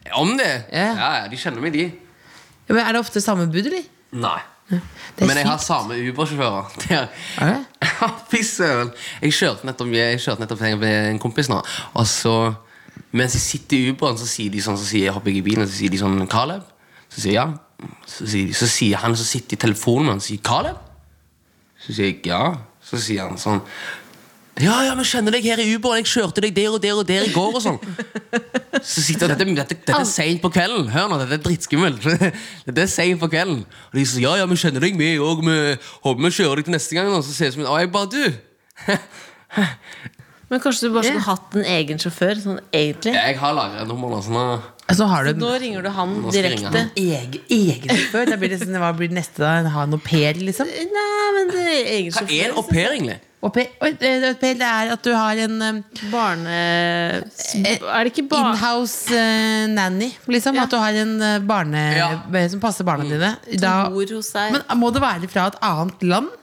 ja. Om det? Ja. Ja, ja, de kjenner meg, de. Ja, men er det ofte samme bud, eller? Nei. Det er Men jeg har sykt. samme Uber-sjåfører. Det er- Er det? Ja, Fy søren! Jeg kjørte nettopp, jeg kjørte nettopp til en kompis nå. Og så, mens jeg sitter i Uberen, så sier de sånn, så sier jeg hopper jeg i bilen, og så sier de sånn Caleb. Så sier jeg ja. Så sier, de, så sier han som sitter i telefonen med han, sier Caleb. Så sier jeg ja. Så sier han sånn ja, ja, men kjenner deg her i Uberen. Jeg kjørte deg der og der og der i går. og sånn så sitter jeg, dette, dette, dette er sent på kvelden. Hør nå, dette er dritskummelt. Dette er sent på kvelden. Og de sier ja, ja, vi skjønner deg, vi òg. Vi håper vi kjører deg til neste gang. Og så sier jeg sånn, «Å, jeg bare du. Men kanskje du bare skulle hatt en egen sjåfør? Sånn egentlig Jeg har lagra nummer. Sånn, «Å, Altså, har du en Nå ringer du han nå skal jeg ringe direkte. han». egen, egen sjåfør? Da blir det sånn, hva blir det neste, da? Ha en au pair, liksom? Nei, men det er egen Hva er en au sjåfør. pair, egentlig? Au pair, oi, eh, au pair, det er at du har en eh, liksom. Barne... Er det ikke barn... Inhouse eh, nanny, liksom. Ja. At du har en eh, barne Ja. som passer barna dine. Da, Som bor hos deg? men må det være fra et annet land?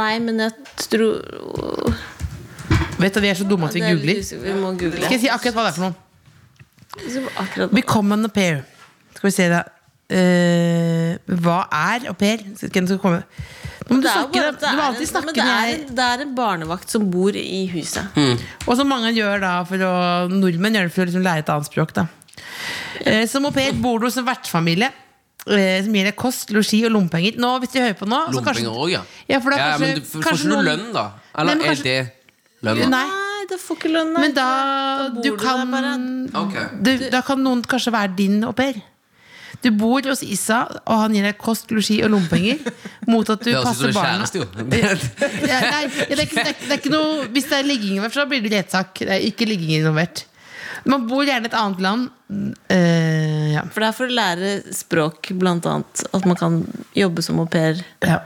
Nei, men jeg tror Vet du, Vi er så dumme at vi Det er litt googler. usikker- Vi må google. Skal jeg si akkurat hva det er for noe? Akkurat. Become an au pair. Skal vi se, da. Eh, hva er au pair? Skal, hvem skal komme? Nå må du Det er jo snakke, bare da. at det Du må er alltid en- snakke men når det er jeg en- Det er en barnevakt som bor i huset. Mm. Og som mange gjør da for å, Nordmenn gjør det for å liksom lære et annet språk da. Eh, Som au pair bor du hos en vertsfamilie eh, Som gir deg kost, losji og lompenger Nå, hvis du hører på nå så Altså, Lompenger kanskje- òg, ja. Ja, for da ja, kanskje- men du, får kanskje ikke noen- du lønn, da? Eller Nei, men kanskje- er det lønn? da? Nei, det får ikke lønn. nei. men da, bor du der kan bare. Ok. du, Da kan noen kanskje være din au pair du bor hos Issa, og han gir deg kost, losji og lompenger Mot at du Det høres passer ut som en barna kjæreste, jo. ja, nei, ja, det, er ikke, det, er, ikke- det er ikke noe Hvis det er ligging involvert, så blir det rettssak. Det er ikke ligging involvert. Man bor gjerne i et annet land. Eh, ja. For det er for å lære språk, blant annet. At man kan jobbe som au pair. ja.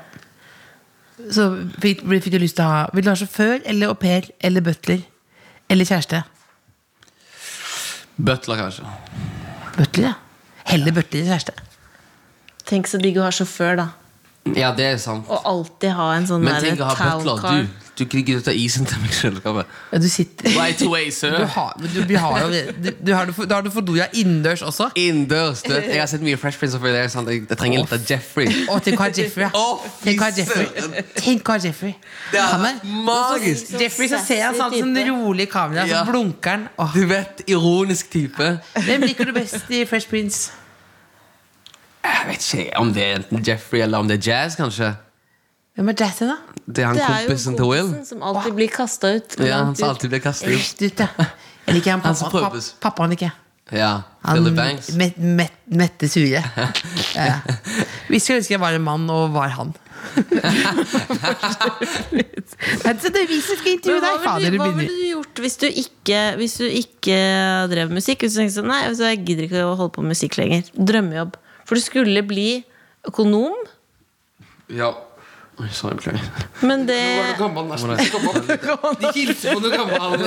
Så fikk, fikk du lyst til å ha Vil du ha sjåfør eller au pair eller butler? Eller kjæreste? Butler, kanskje. Butler, ja. Heller butler enn kjæreste. Tenk så digg å ha sjåfør, da. Ja, det er sant. Og alltid ha en sånn Men der tenk å ha town car. butler. Du, du kriger ut av isen til meg selv. Kåre. Ja, du sitter Right away, Du sir. har, men du, du har jo du, du har det for, Da har du Fordoya innendørs også. Innendørs. du vet. Jeg har sett mye Fresh Prince of Bel-Air. sant? Jeg, jeg trenger litt av Jeffrey. Å, tenk å ha Jeffrey. ja. Å, fy Tenk å ha Jeffrey. søren. Tenk å ha Jeffrey. Det Han er er- magisk! Jeffrey, så ser jeg sånn, sånn rolig kamera, så Ja. blunker han. Åh. Du vet, ironisk type. Hvem liker du best i Fresh Prince? Jeg vet ikke om det er enten Jeffrey eller om det er Jazz, kanskje. Hvem er Jazzy, da? Det er han Det er jo kompisen til Will. som alltid blir kasta ut. Ja, han langt som ut. alltid blir kastet Rett ut. ut, ja. Jeg liker han Han som pappa, pappa, prøves. pappaen ikke. Ja, Han Billy Banks. met, met, Mette Sure. Ja. Hvis jeg ønsker jeg var en mann og var han. Nei, så det er vi som skal Men intervjue hva deg! ville Fader, du- du hva ville begynner. du gjort hvis du ikke, hvis du ikke drev musikk? Hvis du tenkte sånn, nei, altså, jeg gidder ikke å holde på med musikk lenger. Drømmejobb. For du skulle bli økonom, Ja. Oi, sorry, beklager. Nå var men det du gammel nesten gammel. De hilser på noe gammel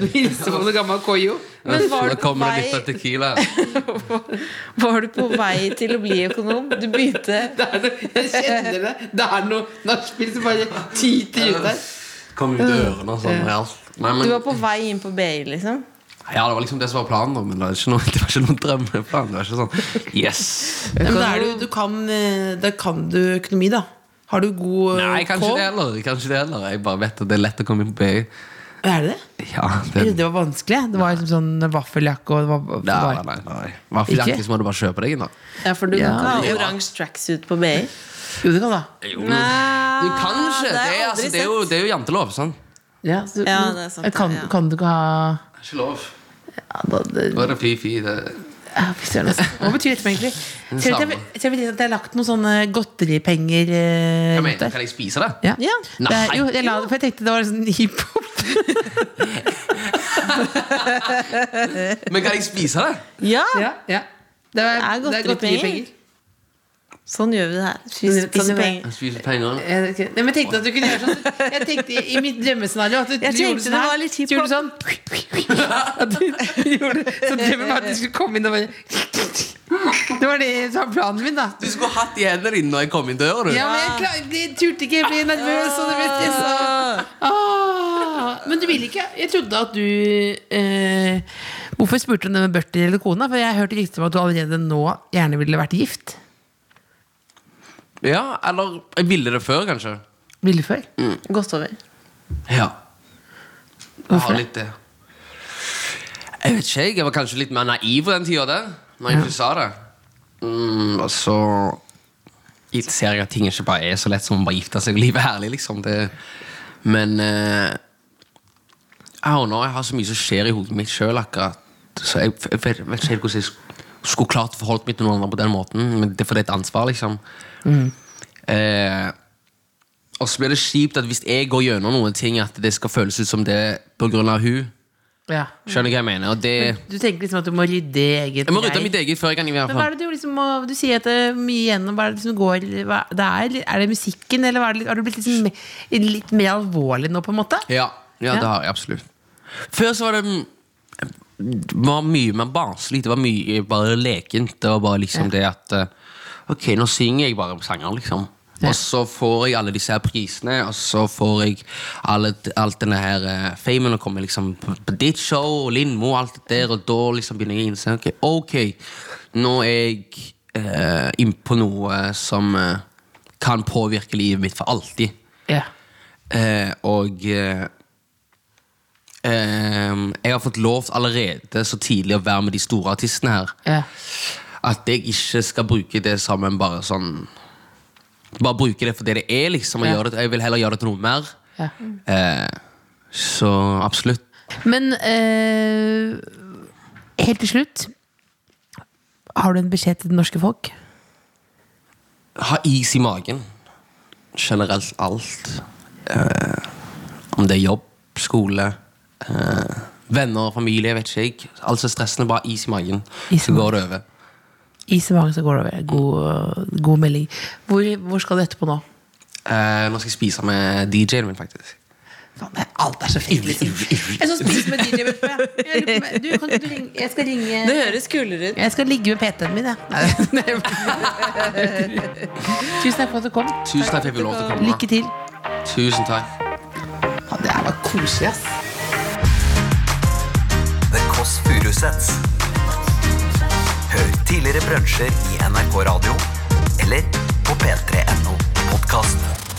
Du hilser på noe gammel koio. Men var Nå du, på kommer det vei, litt av tequila. var du på vei til å bli økonom? Du begynte Det er noe, jeg kjenner det. Det er noe nachspiel som bare tyter ut der. Kom ut ørene og sånn. og alt. Nei, men, Du var på vei inn på BI, liksom? ja, det var liksom det som var planen, da, men det var ikke noe, det var ikke noen drømmeplan. Det var ikke sånn, yes Nei, men da er du, du kan, eh, da kan du økonomi, da. Har du god eh, Nei, kanskje kål? det heller. Kanskje det heller Jeg bare vet at det er lett å komme inn på BI. Er det det? Jeg Ja, det, trodde det var vanskelig. Det var liksom sånn vaffeljakke og det var, nei, nei, nei, nei. Hvorfor Ikke? ikke? Liksom, må du bare kjøpe deg en, da. Ja, for du Ja, kan ikke ha oransje tracksuit på BI. Jo, det kan da. Du kan ikke! det Det har er, jeg altså, aldri det er, jo, det er jo jantelov. Sånn. Ja, så, Eh, Ja, det er sant, kan, ja. kan du ikke ha Det er ikke lov. ja, da, det, Da er det fy-fy. Det... Ja, fy søren, altså. Hva betyr dette egentlig? Ser du samme. at jeg har lagt noen sånne godteripenger eh, Hva rundt mener du? der? Kan jeg spise det? Ja. Ja. Det er, Nei. jo, jeg la det, for jeg tenkte det var sånn hiphop. Men kan jeg spise det? Ja, Ja, ja. Det er, Det er det er godteripenger. godteripenger. sånn gjør vi det her. Spis- Til Spiser og med- penger. Jeg spiser penger. Eh, ok. Nei, men jeg tenkte at du kunne gjøre sånn Jeg tenkte i, i mitt drømmescenario at du Jeg du gjorde tenkte sånn det her. var litt hiphop. Gjorde sånn At du gjorde Så drømmen var at du skulle komme inn og bare Det var det som var planen min, da. Du skulle hatt i hendene dine når jeg kom inn døra. du. Ja, men jeg, klar, jeg turte ikke, jeg ble nervøs. Og det vet jeg, så. Ah, men du ville ikke? Jeg trodde at du eh, Hvorfor spurte du om det med børter eller kona? For jeg hørte rykter om at du allerede nå gjerne ville vært gift. Ja, Eller jeg ville det før, kanskje. Ville før. Mm. Godt over. Ja. Jeg Hvorfor har det? litt det. Jeg vet ikke, jeg. Jeg var kanskje litt mer naiv på den tida der. Når jeg Ja. ikke sa det. Mm, og så i- ser jeg at ting ikke bare er så lett som å bare gifte seg og livet er herlig, liksom. Det, men eh, I don't know, jeg har så mye som skjer i hodet mitt sjøl akkurat. Så jeg, jeg vet, vet ikke helt hvordan jeg sk- skulle klart å forholde meg til noen andre på den måten. Men det er fordi det er et ansvar, liksom. Mm. Eh, og så blir det kjipt at hvis jeg går gjennom noen ting, at det skal føles ut som det er på grunn av hun. Ja. Skjønner du hva jeg mener? Og det, Du tenker liksom at du må rydde i eget jeg må rydde greie. mitt eget før jeg kan i hvert Men hva fall. er det du liksom må Du sier at det er mye igjennom. Hva er det som går hva det er? Er det musikken, eller hva er det, har du blitt liksom, me- litt mer alvorlig nå, på en måte? Ja, ja, det Ja. har jeg absolutt. Før så var det det var mye mer barnslig. Det var mye bare lekent. Det var bare liksom det at eh, Ok, nå synger jeg bare sanger, liksom. Og så får jeg alle disse her prisene, og så får jeg alle, alt denne her eh, famen, og kommer liksom på, på ditt show, og Lindmo og alt det der, og da liksom begynner jeg å innse ok, ok, nå er jeg eh, innpå noe som eh, kan påvirke livet mitt for alltid. Ja. Eh, og eh, ehm, jeg har fått lov allerede så tidlig å være med de store artistene her. Ja. At jeg ikke skal bruke det som en bare sånn Bare bruke det for det det er, liksom. Og Ja. gjøre det, jeg vil heller gjøre det til noe mer. Ja. Eh, så absolutt. Men eh, helt til slutt Har du en beskjed til det norske folk? Ha is i magen. Generelt alt. Eh, om det er jobb, skole, eh, venner, familie, vet ikke jeg. Alt som er stressende, bare is i magen. Is i så går det over. I så mange så går det over. God, god melding. Hvor, hvor skal du etterpå nå? Eh, nå skal jeg spise med DJ-en min, faktisk. Faen, det er, alt er så fint, liksom. Jeg er sånn spist med DJ, vet du. Jeg, lurer på meg- du, kan ikke du ringe? jeg skal ringe Det høres kulere ut. Jeg skal ligge med PT-en min, jeg. Nei. Tusen takk for at du kom. Tusen takk for at jeg fikk lov til å komme. Lykke til. Tusen takk. Faen, Det her var koselig, ass. The Kåss Furuseths. Hør tidligere brunsjer i NRK Radio eller på p3.no podkast.